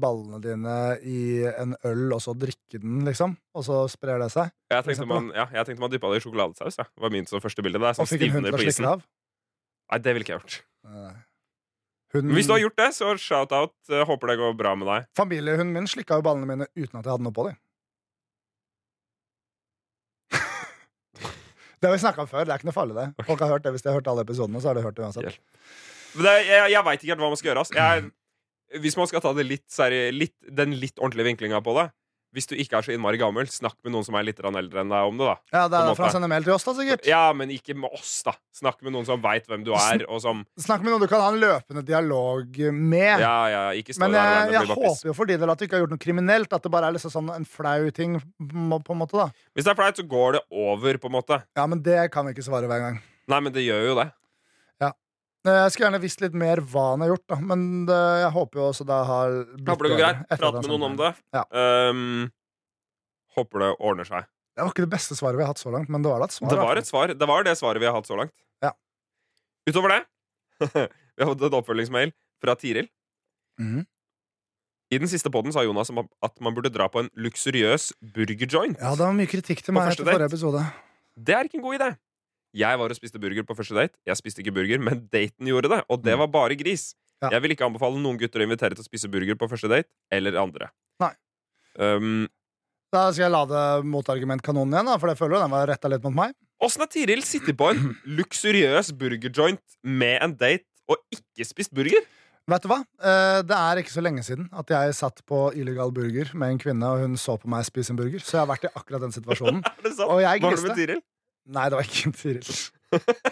[SPEAKER 2] ballene dine i en øl, og så drikke den, liksom. Og så sprer det seg.
[SPEAKER 3] Jeg tenkte man, ja, jeg tenkte man dyppa det i sjokoladesaus. Ja. Det var min som første bilde. Det er
[SPEAKER 2] Og
[SPEAKER 3] sånn
[SPEAKER 2] fikk en hund
[SPEAKER 3] stivner
[SPEAKER 2] til å
[SPEAKER 3] på
[SPEAKER 2] slikke
[SPEAKER 3] isen.
[SPEAKER 2] det av.
[SPEAKER 3] Nei, det ville ikke jeg gjort.
[SPEAKER 2] Nei. Hun,
[SPEAKER 3] Men
[SPEAKER 2] Mm.
[SPEAKER 3] Hvis du har gjort det, så shout-out. Eh, Håper det går bra med deg.
[SPEAKER 2] Familiehunden min slikka jo ballene mine uten at jeg hadde noe på dem. det har vi snakka om før. Det er ikke noe farlig, det. Folk har hørt det Hvis de har hørt alle episodene, så har de hørt det uansett.
[SPEAKER 3] Hjelp. Men Det, jeg jeg veit ikke helt hva man skal gjøre. Ass. Jeg, hvis man skal ta det litt, seri- litt, den litt ordentlige vinklinga på det Hvis du ikke er så innmari gammel, snakk med noen som er litt grann eldre enn deg om det. da
[SPEAKER 2] Ja, Det er
[SPEAKER 3] På en
[SPEAKER 2] for
[SPEAKER 3] måte.
[SPEAKER 2] han sender mail til oss, da, sikkert.
[SPEAKER 3] Ja, men ikke med oss, da. Snakk med noen som veit hvem du er, og som
[SPEAKER 2] Snakk med noen du kan ha en løpende dialog med.
[SPEAKER 3] Ja, ja, ikke stå
[SPEAKER 2] Men
[SPEAKER 3] der
[SPEAKER 2] jeg,
[SPEAKER 3] alene. det
[SPEAKER 2] jeg
[SPEAKER 3] blir bare piss.
[SPEAKER 2] håper jo for din del at du ikke har gjort noe kriminelt. At det bare er liksom sånn en flau ting, på på en måte. da
[SPEAKER 3] Hvis det er flaut, så går det over, på en måte.
[SPEAKER 2] Ja, men det kan vi ikke svare hver gang.
[SPEAKER 3] Nei, men det gjør jo det.
[SPEAKER 2] Eh, Jeg skulle gjerne visst litt mer hva han har gjort, da. men det, jeg håper jo også det har blitt
[SPEAKER 3] Håper det
[SPEAKER 2] bedre
[SPEAKER 3] går greit.
[SPEAKER 2] etter at
[SPEAKER 3] Prat
[SPEAKER 2] han
[SPEAKER 3] med
[SPEAKER 2] sendte
[SPEAKER 3] noen om
[SPEAKER 2] den.
[SPEAKER 3] det.
[SPEAKER 2] Ja.
[SPEAKER 3] Um, håper det ordner seg.
[SPEAKER 2] Det var ikke det beste svaret vi har hatt så langt, men det var da et svar.
[SPEAKER 3] Det
[SPEAKER 2] da.
[SPEAKER 3] var et svar. Det var det svaret vi har hatt så langt.
[SPEAKER 2] Ja.
[SPEAKER 3] Utover det Vi har fått en oppfølgingsmail fra Tiril.
[SPEAKER 2] Mhm.
[SPEAKER 3] I den siste poden sa Jonas om at man burde dra på en luksuriøs burgerjoint.
[SPEAKER 2] Ja, det var mye kritikk til
[SPEAKER 3] På
[SPEAKER 2] meg
[SPEAKER 3] første
[SPEAKER 2] etter forrige
[SPEAKER 3] date.
[SPEAKER 2] episode.
[SPEAKER 3] Det er ikke en god idé. Jeg var og spiste burger på første date. Jeg spiste ikke burger, men daten gjorde det, og det var bare gris.
[SPEAKER 2] Mm. Ja.
[SPEAKER 3] Jeg vil ikke anbefale noen gutter å invitere til å spise burger på første date eller andre.
[SPEAKER 2] Nei.
[SPEAKER 3] Um,
[SPEAKER 2] Da skal jeg lade motargumentkanonen igjen, da, for jeg føler jo den var retta litt mot meg.
[SPEAKER 3] Åssen har Tiril sittet på en luksuriøs burgerjoint med en date og ikke spist burger?
[SPEAKER 2] Vet du hva? Eh, Det er ikke så lenge siden at jeg satt på illegal burger med en kvinne, og hun så på meg spise en burger, så jeg har vært i akkurat den situasjonen.
[SPEAKER 3] Er det sant?
[SPEAKER 2] Og jeg
[SPEAKER 3] Hva har du med
[SPEAKER 2] griste.
[SPEAKER 3] Tiril?
[SPEAKER 2] Nei, det var ikke en Tiril.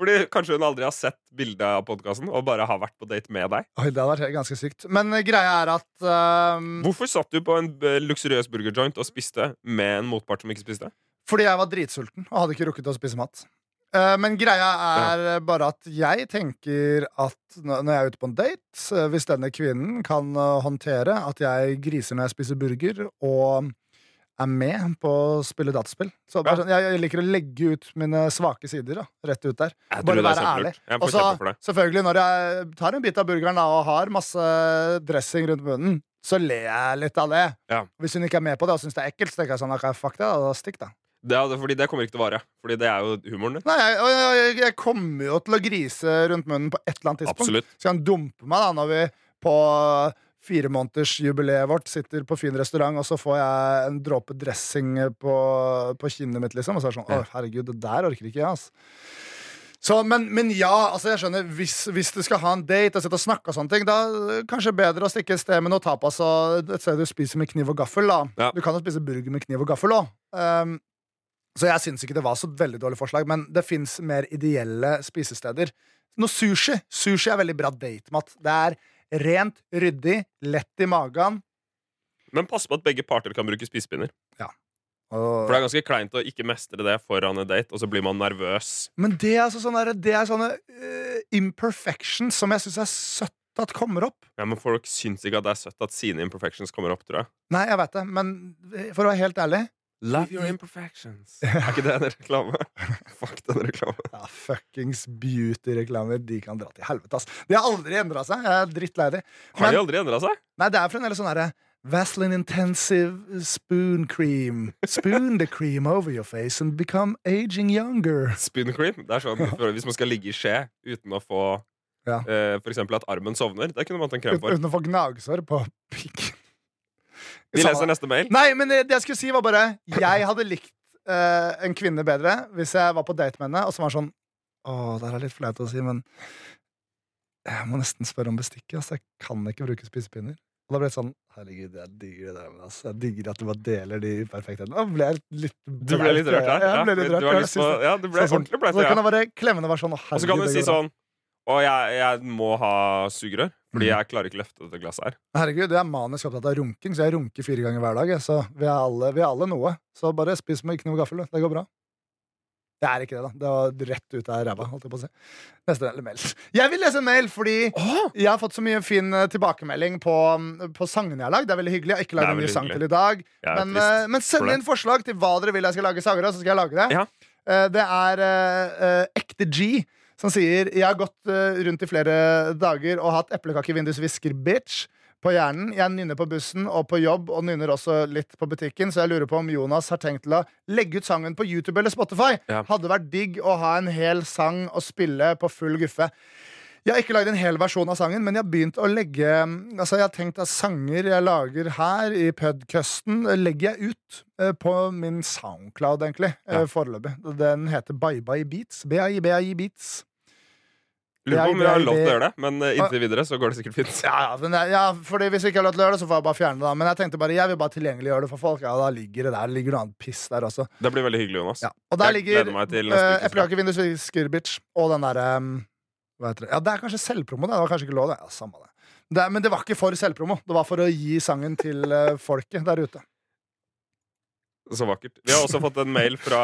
[SPEAKER 3] Fordi Kanskje hun aldri har sett bildet av podkasten og bare har vært på date med deg.
[SPEAKER 2] Oi, det hadde vært ganske sykt. Men eh, greia er at eh,
[SPEAKER 3] Hvorfor satt du på en eh, luksuriøs burgerjoint og spiste med en motpart som ikke spiste?
[SPEAKER 2] Fordi jeg var dritsulten og hadde ikke rukket å spise mat. Eh, Men greia er eh, bare at jeg tenker at n- når jeg er ute på en date, eh, hvis denne kvinnen kan eh, håndtere at jeg griser når jeg spiser burger, og er med på å spille dataspill så bare
[SPEAKER 3] Ja.
[SPEAKER 2] sånn, jeg, jeg liker å legge ut mine svake sider da, rett ut der.
[SPEAKER 3] Jeg tror
[SPEAKER 2] Bare
[SPEAKER 3] det er
[SPEAKER 2] være ærlig.
[SPEAKER 3] kjempelurt. Jeg
[SPEAKER 2] Og
[SPEAKER 3] får
[SPEAKER 2] så
[SPEAKER 3] kjempe for det.
[SPEAKER 2] selvfølgelig, når jeg tar en bit av burgeren da, og har masse dressing rundt munnen, så ler jeg litt av det.
[SPEAKER 3] Ja.
[SPEAKER 2] Hvis hun ikke er med på det og syns det er ekkelt, så tenker jeg sånn, ok, fuck det, da stikk, da.
[SPEAKER 3] Det, er- fordi det kommer ikke til å vare. Fordi det er jo humoren din.
[SPEAKER 2] Nei, jeg, og jeg, jeg, jeg kommer jo til å grise rundt munnen på et eller annet tidspunkt.
[SPEAKER 3] Absolutt.
[SPEAKER 2] Skal han dumpe meg da, når vi på firemånedersjubileet vårt sitter på fin restaurant, og så får jeg en dråpe dressing på, på kinnet mitt, liksom? Og så er det sånn,
[SPEAKER 3] Ja.
[SPEAKER 2] å herregud, det der orker ikke jeg, altså. Så, men, men ja, altså jeg skjønner hvis, hvis du skal ha en date og sitte og snakke og sånne ting, da øh, kanskje bedre å stikke et sted med noe tapas og et sted du spiser med kniv og gaffel. da
[SPEAKER 3] Ja.
[SPEAKER 2] Du kan jo spise burger med kniv og gaffel òg. Um, så jeg syns ikke det var så veldig dårlig forslag, men det fins mer ideelle spisesteder. Noe sushi. Sushi er veldig bra datemat. Det er rent, ryddig, lett i magen.
[SPEAKER 3] Men pass på at begge parter kan bruke spisepinner. For
[SPEAKER 2] Og...
[SPEAKER 3] det er ganske kleint å ikke mestre det foran en date, og så blir man nervøs.
[SPEAKER 2] sånn Men det er, altså sånne, det er sånne øh, imperfections som eh, jeg syns er søtt at kommer opp.
[SPEAKER 3] Ja, men folk syns ikke at det er søtt at sine imperfections kommer opp, tror jeg.
[SPEAKER 2] Nei, jeg vet det, men eh, for å være helt ærlig
[SPEAKER 3] Love your imperfections. Er ikke det en reklame? Fuck den reklamen.
[SPEAKER 2] ja, Fuckings beauty-reklamer, de kan dra til helvete, ass. De har aldri endra seg. Jeg er drittlei de.
[SPEAKER 3] Har
[SPEAKER 2] Men-
[SPEAKER 3] de aldri endra seg?
[SPEAKER 2] Nei, det er fremdeles sånn herre Vaseline Intensive eh, Spoon Cream. Spoon the cream over your face and become aging younger.
[SPEAKER 3] Spin cream. Det er sånn, for Hvis man skal ligge i skje uten å få
[SPEAKER 2] Ja.
[SPEAKER 3] eh, for eksempel at armen sovner, det kunne man hatt en krem
[SPEAKER 2] Ut-
[SPEAKER 3] for.
[SPEAKER 2] Uten å få gnagsår på pikken.
[SPEAKER 3] Vi
[SPEAKER 2] Samme
[SPEAKER 3] leser
[SPEAKER 2] det.
[SPEAKER 3] neste mail.
[SPEAKER 2] Nei, men det jeg skulle si, var bare Jeg hadde likt eh, en kvinne bedre hvis jeg var på date med henne, og så var det sånn Å, det her er litt flaut å si, men jeg må nesten spørre om bestikket. Altså, jeg kan ikke bruke spisepinner. Og da ble det sånn Herregud, jeg digger det der, men altså, jeg digger at du bare deler de perfekthetene. Da ble jeg litt
[SPEAKER 3] Du ble litt rørt her.
[SPEAKER 2] Ja, jeg ble litt rørt.
[SPEAKER 3] du har
[SPEAKER 2] Jeg
[SPEAKER 3] lyst
[SPEAKER 2] synes
[SPEAKER 3] på,
[SPEAKER 2] det.
[SPEAKER 3] ja, du
[SPEAKER 2] Så
[SPEAKER 3] ble
[SPEAKER 2] sånn-
[SPEAKER 3] ordentlig bleit.
[SPEAKER 2] Så
[SPEAKER 3] Ja.
[SPEAKER 2] kan det være klemmene var sånn «Å,
[SPEAKER 3] Og så kan du
[SPEAKER 2] herregud,
[SPEAKER 3] si
[SPEAKER 2] det går bra».
[SPEAKER 3] sånn Å, jeg, jeg må ha sugerør, fordi
[SPEAKER 2] Mm.
[SPEAKER 3] jeg klarer ikke løfte dette glasset her.
[SPEAKER 2] Herregud, jeg er manisk opptatt av runking, så jeg runker fire ganger hver dag. jeg, Så vi er alle, vi er alle noe. Så bare spis med ikke noe gaffel, du. det går bra. Det er ikke det, da. Det var rett ut av ræva. holdt jeg på å si. Neste mail. Jeg vil lese en mail fordi jeg har fått så mye fin eh, tilbakemelding på, mm, på sangene jeg har lagd. Det er veldig hyggelig. Jeg har ikke
[SPEAKER 3] Det er
[SPEAKER 2] lagd en ny
[SPEAKER 3] veldig
[SPEAKER 2] sang
[SPEAKER 3] hyggelig.
[SPEAKER 2] til i dag.
[SPEAKER 3] Jeg er
[SPEAKER 2] Men, eh,
[SPEAKER 3] trist.
[SPEAKER 2] men send
[SPEAKER 3] det.
[SPEAKER 2] inn forslag til hva dere vil jeg skal lage sanger av, så skal jeg lage det.
[SPEAKER 3] Ja.
[SPEAKER 2] Eh, det er eh, eh, Ekte G som sier Jeg har gått eh, rundt i flere dager og hatt eplekakevindusvisker, bitch. På hjernen. Jeg nynner på bussen og på jobb og nynner også litt på butikken, så jeg lurer på om Jonas har tenkt til å legge ut sangen på YouTube eller Spotify.
[SPEAKER 3] Ja.
[SPEAKER 2] Hadde vært digg å ha en hel sang å spille på full guffe. Jeg har ikke lagd en hel versjon av sangen, men jeg har begynt å legge Altså, jeg har tenkt at sanger jeg lager her i podcasten, legger jeg ut eh, på min Soundcloud, egentlig, eh, foreløpig. Den heter Bye Bye Beats. BAI BAI Beats.
[SPEAKER 3] Lurer på om jeg har lov til å
[SPEAKER 2] det- Ah.
[SPEAKER 3] gjøre det, men eh, inntil videre så går det sikkert fint.
[SPEAKER 2] Ja, ja, men det, ja, fordi hvis jeg ikke har lov til å gjøre det, så får jeg bare fjerne det. da. Men jeg tenkte bare, jeg vil bare tilgjengeliggjøre det for folk. Ja, da ligger det der. Ligger noe annet piss der også.
[SPEAKER 3] Det blir veldig hyggelig, Jonas.
[SPEAKER 2] Ja. Og der
[SPEAKER 3] Jeg
[SPEAKER 2] ligger
[SPEAKER 3] gleder meg til neste ukes
[SPEAKER 2] uh, Eplekake, vindusvisker, bitch. Og den derre um, hva heter det? Ja, det er kanskje selvpromo. Det Det var kanskje ikke lov, det. Ja, samme det. det. Men det var ikke for selvpromo. Det var for å gi sangen til eh, folket der ute.
[SPEAKER 3] Så vakkert. Vi har også fått en mail fra,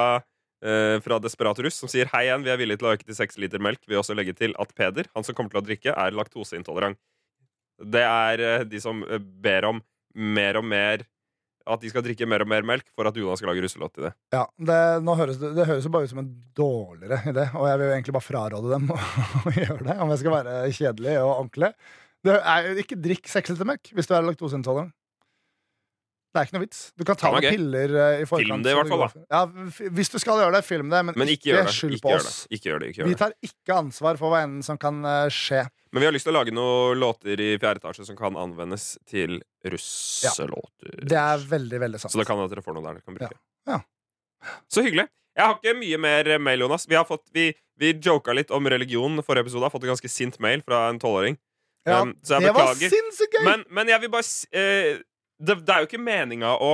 [SPEAKER 3] eh, fra Desperat Russ som sier Hei igjen, vi er villige til å øke til seks liter melk. Vi vil også legge til at Peder, han som kommer til å drikke, er laktoseintolerant. Det er eh, de som eh, ber om mer og mer At de skal drikke mer og mer melk for at Jonas skal lage russelåt til det.
[SPEAKER 2] Ja, det, nå høres, det, det høres jo bare ut som en dårligere idé, og jeg vil jo egentlig bare fraråde dem å, å gjøre det, om jeg skal være kjedelig og ordentlig. Det er, jo- ikke drikk seks liter melk hvis du er laktoseintolerant. Det er ikke noe vits. Du kan ta
[SPEAKER 3] Det var
[SPEAKER 2] noen
[SPEAKER 3] gøy.
[SPEAKER 2] piller eh, i forkant.
[SPEAKER 3] Film det i
[SPEAKER 2] så
[SPEAKER 3] hvert
[SPEAKER 2] du
[SPEAKER 3] fall,
[SPEAKER 2] går for- Ja, f- hvis du skal gjøre det, film det, men,
[SPEAKER 3] Men ikke gjør det.
[SPEAKER 2] skyld
[SPEAKER 3] Ikke
[SPEAKER 2] på
[SPEAKER 3] gjør det.
[SPEAKER 2] oss.
[SPEAKER 3] Ikke gjør det. Ikke gjør
[SPEAKER 2] Vi
[SPEAKER 3] det.
[SPEAKER 2] tar ikke ansvar for hva enn som kan eh, skje.
[SPEAKER 3] Men vi har lyst til å lage noen låter i fjerde etasje som kan anvendes til russelåter.
[SPEAKER 2] Det er veldig, veldig sant.
[SPEAKER 3] Så det kan hende at dere får noe der dere kan bruke.
[SPEAKER 2] Ja.
[SPEAKER 3] Så hyggelig. Jeg har ikke mye mer mail, Jonas. Vi, har fått, vi, vi joka litt om religion forrige episode. Jeg har fått en ganske sint mail fra en tolvåring.
[SPEAKER 2] ja,
[SPEAKER 3] Um, så jeg
[SPEAKER 2] det var
[SPEAKER 3] beklager.
[SPEAKER 2] sinnssykt gøy!
[SPEAKER 3] Men, men jeg vil bare s- eh, det, det er jo ikke meninga å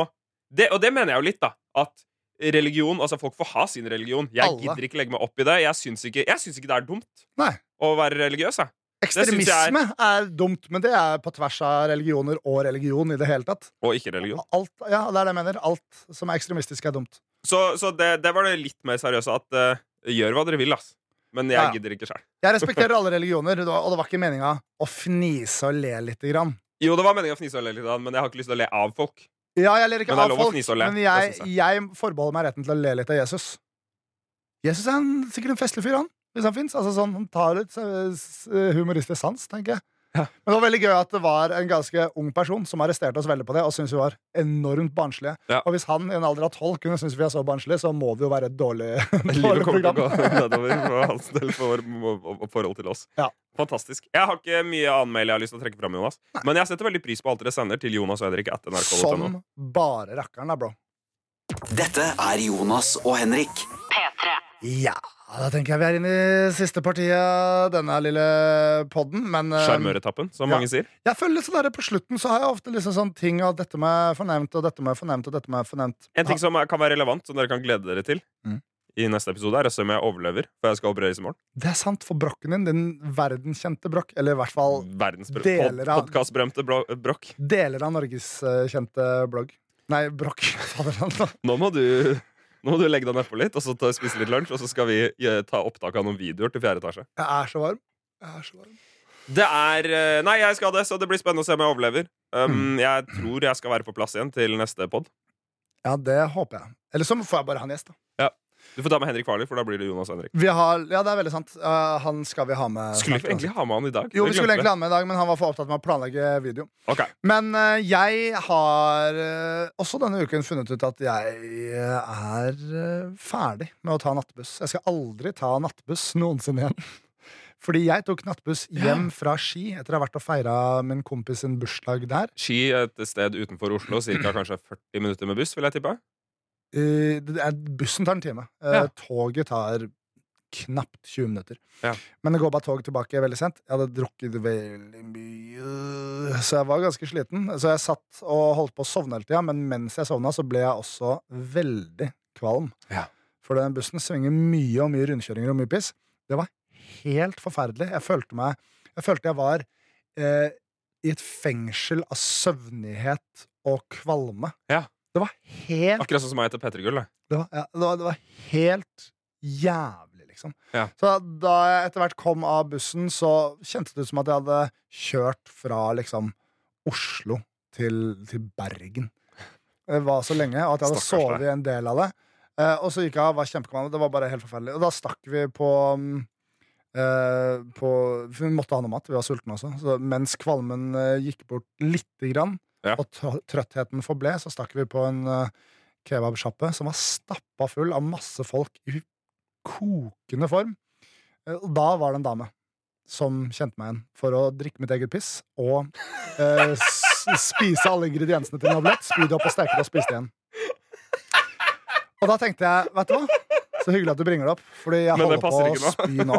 [SPEAKER 3] det, Og det mener jeg jo litt, da. At religion Altså, folk får ha sin religion. Jeg
[SPEAKER 2] Alle.
[SPEAKER 3] gidder ikke legge meg opp i det. Jeg syns ikke, jeg syns ikke det er dumt
[SPEAKER 2] Nei.
[SPEAKER 3] å være religiøs, jeg. synes jeg er-
[SPEAKER 2] Ekstremisme er dumt, men det er på tvers av religioner og religion i det hele tatt.
[SPEAKER 3] Og ikke religion.
[SPEAKER 2] Alt, ja, det er det jeg mener. Alt som er ekstremistisk, er dumt.
[SPEAKER 3] Så, så det, det var det litt mer seriøse. At eh, gjør hva dere vil, ass. Men jeg
[SPEAKER 2] Ja.
[SPEAKER 3] gidder ikke sjøl.
[SPEAKER 2] Jeg respekterer alle religioner, og det var- og det var ikke meninga å fnise og le lite grann.
[SPEAKER 3] Jo, det var meninga å fnise og le litt, av den, men jeg har ikke lyst til å le av folk.
[SPEAKER 2] Ja, jeg ler ikke
[SPEAKER 3] Men det er
[SPEAKER 2] av
[SPEAKER 3] lov å
[SPEAKER 2] folk,
[SPEAKER 3] fnise og le.
[SPEAKER 2] men
[SPEAKER 3] Det
[SPEAKER 2] jeg,
[SPEAKER 3] synes jeg.
[SPEAKER 2] jeg forbeholder meg retten til å le litt av Jesus. Jesus er en, sikkert en festlig fyr, han. Hvis han fins. Altså, sånn, han tar litt eh, s- humoristisk sans, tenker jeg.
[SPEAKER 3] Ja.
[SPEAKER 2] Men det var veldig gøy at det var en ganske ung person som arresterte oss veldig på det, og syntes vi var enormt barnslige.
[SPEAKER 3] Ja.
[SPEAKER 2] Og hvis han i en alder av tolv kunne synes vi er så barnslige, så må det jo være et dårlig, dårlig
[SPEAKER 3] Livet kommer til å
[SPEAKER 2] program.
[SPEAKER 3] gå nedover for hans del for, og forhold til oss.
[SPEAKER 2] Ja.
[SPEAKER 3] Fantastisk. Jeg har ikke mye annen mail jeg har lyst til å trekke fram, Jonas. Men jeg setter veldig pris på alt dere sender til Jonas og Henrik at nrk.no.
[SPEAKER 2] Som bare rakkeren, da, bro.
[SPEAKER 1] Dette er Jonas og Henrik.
[SPEAKER 4] P3.
[SPEAKER 2] Ja, da tenker jeg vi er inne i siste partiet av denne lille podden. Men eh,
[SPEAKER 3] Sjarmøretappen, som
[SPEAKER 2] ja.
[SPEAKER 3] mange sier.
[SPEAKER 2] jeg føler litt sånn der, på slutten så har jeg ofte liksom sånn ting at dette må jeg få nevnt, og dette må jeg få nevnt, og dette må jeg få nevnt.
[SPEAKER 3] En ting som er- kan være relevant, som dere kan glede dere til
[SPEAKER 2] Mm.
[SPEAKER 3] i neste episode, er å se om jeg overlever, for jeg skal opereres i morgen.
[SPEAKER 2] Det er sant for brokken din, din verdenskjente brokk, eller i hvert fall
[SPEAKER 3] Mm.
[SPEAKER 2] deler av-
[SPEAKER 3] Verdensberømte brokk.
[SPEAKER 2] deler av norgeskjente blogg. Nei, brokk. Fader, han da.
[SPEAKER 3] Nå må du nå må du legge deg nedpå litt og så ta, spise litt lunsj, og så skal vi eh, ta opptak av noen videoer til fjerde etasje.
[SPEAKER 2] Jeg er så varm. Jeg er så varm.
[SPEAKER 3] Det er eh, Nei, jeg skal det, så det blir spennende å se om jeg overlever.
[SPEAKER 2] Hmm.
[SPEAKER 3] Um, jeg tror jeg skal være på plass igjen til neste pod.
[SPEAKER 2] Ja, det håper jeg. Eller så får jeg bare ha en gjest, da.
[SPEAKER 3] Du får ta med Henrik Farley, for da blir det Jonas og Henrik.
[SPEAKER 2] Vi har, ja, det er veldig sant. Eh, han skal vi ha med.
[SPEAKER 3] Skulle
[SPEAKER 2] snart,
[SPEAKER 3] vi egentlig ha med han i dag?
[SPEAKER 2] altså. Jo,
[SPEAKER 3] Det
[SPEAKER 2] vi skulle
[SPEAKER 3] glemte
[SPEAKER 2] egentlig ha han med i dag, men han var for opptatt med å planlegge video.
[SPEAKER 3] vi. Ok.
[SPEAKER 2] Men eh, jeg har eh, også denne uken funnet ut at jeg eh, er eh, ferdig med å ta nattbuss. Jeg skal aldri ta nattbuss noensinne igjen. Fordi jeg tok nattbuss hjem fra Ski etter å ha vært og feira min kompis sin bursdag der.
[SPEAKER 3] Ski et sted utenfor Oslo, cirka kanskje 40 minutter med buss, vil jeg tippe.
[SPEAKER 2] Eh, det er- Bussen tar en time. Eh,
[SPEAKER 3] Ja.
[SPEAKER 2] Toget tar knapt 20 minutter.
[SPEAKER 3] Ja.
[SPEAKER 2] Men det går bare tog tilbake veldig sent. Jeg hadde drukket veldig mye, så jeg var ganske sliten. Så jeg satt og holdt på å sovne hele tida, men mens jeg sovna, så ble jeg også veldig kvalm.
[SPEAKER 3] Ja.
[SPEAKER 2] For den bussen svinger mye og mye rundkjøringer og mye piss. Det var helt forferdelig. Jeg følte meg Jeg følte jeg var eh, i et fengsel av søvnighet og kvalme.
[SPEAKER 3] Ja.
[SPEAKER 2] Det var helt
[SPEAKER 3] Akkurat sånn som meg etter P3 Gull. da.
[SPEAKER 2] det var, ja, det var, det var helt jævlig, liksom.
[SPEAKER 3] Ja.
[SPEAKER 2] Så da jeg etter hvert kom av bussen, så kjentes det ut som at jeg hadde kjørt fra liksom Oslo til, til Bergen. Det var så lenge, og at jeg hadde
[SPEAKER 3] Stakkars deg.
[SPEAKER 2] sovet i en del av det. Eh, og så gikk jeg av, var kjempekvalm. Det var bare helt forferdelig. Og da stakk vi på mm, eh, på, for vi måtte ha noe mat, vi var sultne også. Så mens kvalmen eh, gikk bort lite grann,
[SPEAKER 3] Ja.
[SPEAKER 2] og tr trøttheten forble, så stakk vi på en eh, kebabsjappe som var stappa full av masse folk i kokende form. Eh, Og da var det en dame som kjente meg igjen for å drikke mitt eget piss og eh, s- spise alle ingrediensene til en omelett, spy det opp og steke det og spise det igjen. Og da tenkte jeg, vet du hva? Så hyggelig at du bringer det opp, fordi jeg
[SPEAKER 3] Men det
[SPEAKER 2] holder på å
[SPEAKER 3] passer
[SPEAKER 2] spy nå.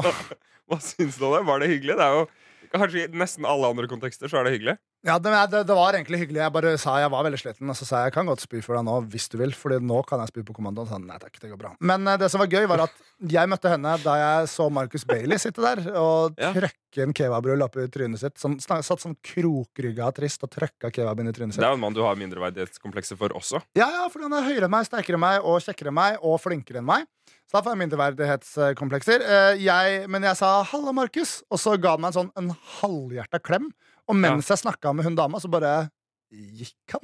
[SPEAKER 3] Hva syns du om det? Var det hyggelig? Det er jo Kanskje i nesten alle andre kontekster så er det hyggelig.
[SPEAKER 2] Ja, det, det, det var egentlig hyggelig. Jeg bare sa jeg var veldig sliten. Og så sa jeg jeg kan godt spy for deg nå hvis du vil, Fordi nå kan jeg spy på kommando. Og så sa han, nei takk, det går bra. Men eh, det som var gøy, var at jeg møtte henne da jeg så Marcus Bailey sitte der og
[SPEAKER 3] Ja.
[SPEAKER 2] trøkke en kebabrull oppi trynet sitt. Som, snak- satt sånn krokrygga og trist og trøkka kebaben i trynet
[SPEAKER 3] Det
[SPEAKER 2] sitt.
[SPEAKER 3] er jo en mann du har mindreverdighetskomplekser for også.
[SPEAKER 2] Ja, ja, fordi han er høyere enn meg, sterkere enn meg og kjekkere enn meg og flinkere enn meg. Så da får jeg mindreverdighetskomplekser. Eh, Jeg, men jeg sa 'halla, Markus', og så ga han meg en sånn en halvhjerta klem. Og mens jeg snakka med hun dama, så bare gikk han.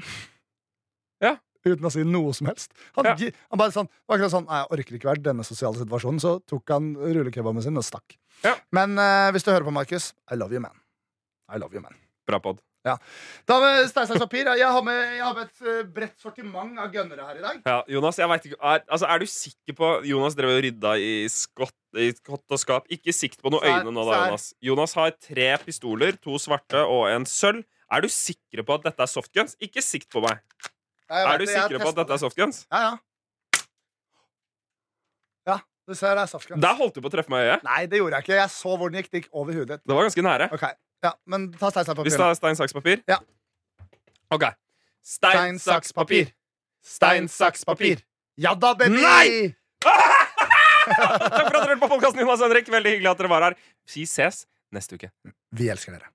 [SPEAKER 3] Ja.
[SPEAKER 2] Uten å si noe som helst. Han,
[SPEAKER 3] Ja.
[SPEAKER 2] gi- han bare sånn, det var akkurat sånn «Nei, 'Jeg orker ikke være i denne sosiale situasjonen', så tok han rullekebaben sin og stakk.
[SPEAKER 3] Ja.
[SPEAKER 2] Men eh, hvis du hører på, Markus, I love you, man. I love you, man.
[SPEAKER 3] Bra pod.
[SPEAKER 2] Da med stein, saks, papir. Jeg har med, jeg har med et eh, bredt sortiment av gønnere her i dag.
[SPEAKER 3] Ja, Jonas, jeg vet ikke er, altså, er du sikker på Jonas drev og rydda i skott, i skott og skap. Ikke sikt på noen
[SPEAKER 2] Sær,
[SPEAKER 3] øyne nå, da,
[SPEAKER 2] sær.
[SPEAKER 3] Jonas. Jonas har tre pistoler, to svarte og en sølv. Er du sikre på at dette er softguns? Ikke sikt på meg.
[SPEAKER 2] Ja, jeg
[SPEAKER 3] Er
[SPEAKER 2] vet
[SPEAKER 3] du
[SPEAKER 2] det, jeg har
[SPEAKER 3] sikre på at
[SPEAKER 2] testet
[SPEAKER 3] dette er
[SPEAKER 2] det.
[SPEAKER 3] softguns?
[SPEAKER 2] Ja, ja. Ja, du ser det er saftkrem.
[SPEAKER 3] Der holdt du på å treffe meg i øyet.
[SPEAKER 2] Nei, det gjorde jeg ikke. Jeg så hvor den gikk. Det gikk over hudet ditt.
[SPEAKER 3] Det var ganske nære.
[SPEAKER 2] Ok, ja, Men ta stein, saks, papir.
[SPEAKER 3] Hvis det er stein, saks, papir?
[SPEAKER 2] Ja.
[SPEAKER 3] OK. Stein, saks, papir. Stein, saks, papir.
[SPEAKER 2] Ja da, baby!
[SPEAKER 3] Nei! Takk for at dere hørte på podkasten, Jonas og Henrik. Veldig hyggelig at dere var her. Vi ses neste uke.
[SPEAKER 2] Vi elsker dere.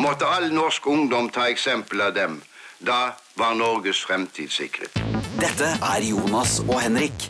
[SPEAKER 4] Måtte all norsk ungdom ta eksempel av dem. Da var Norges fremtid sikret.
[SPEAKER 1] Dette er Jonas og Henrik.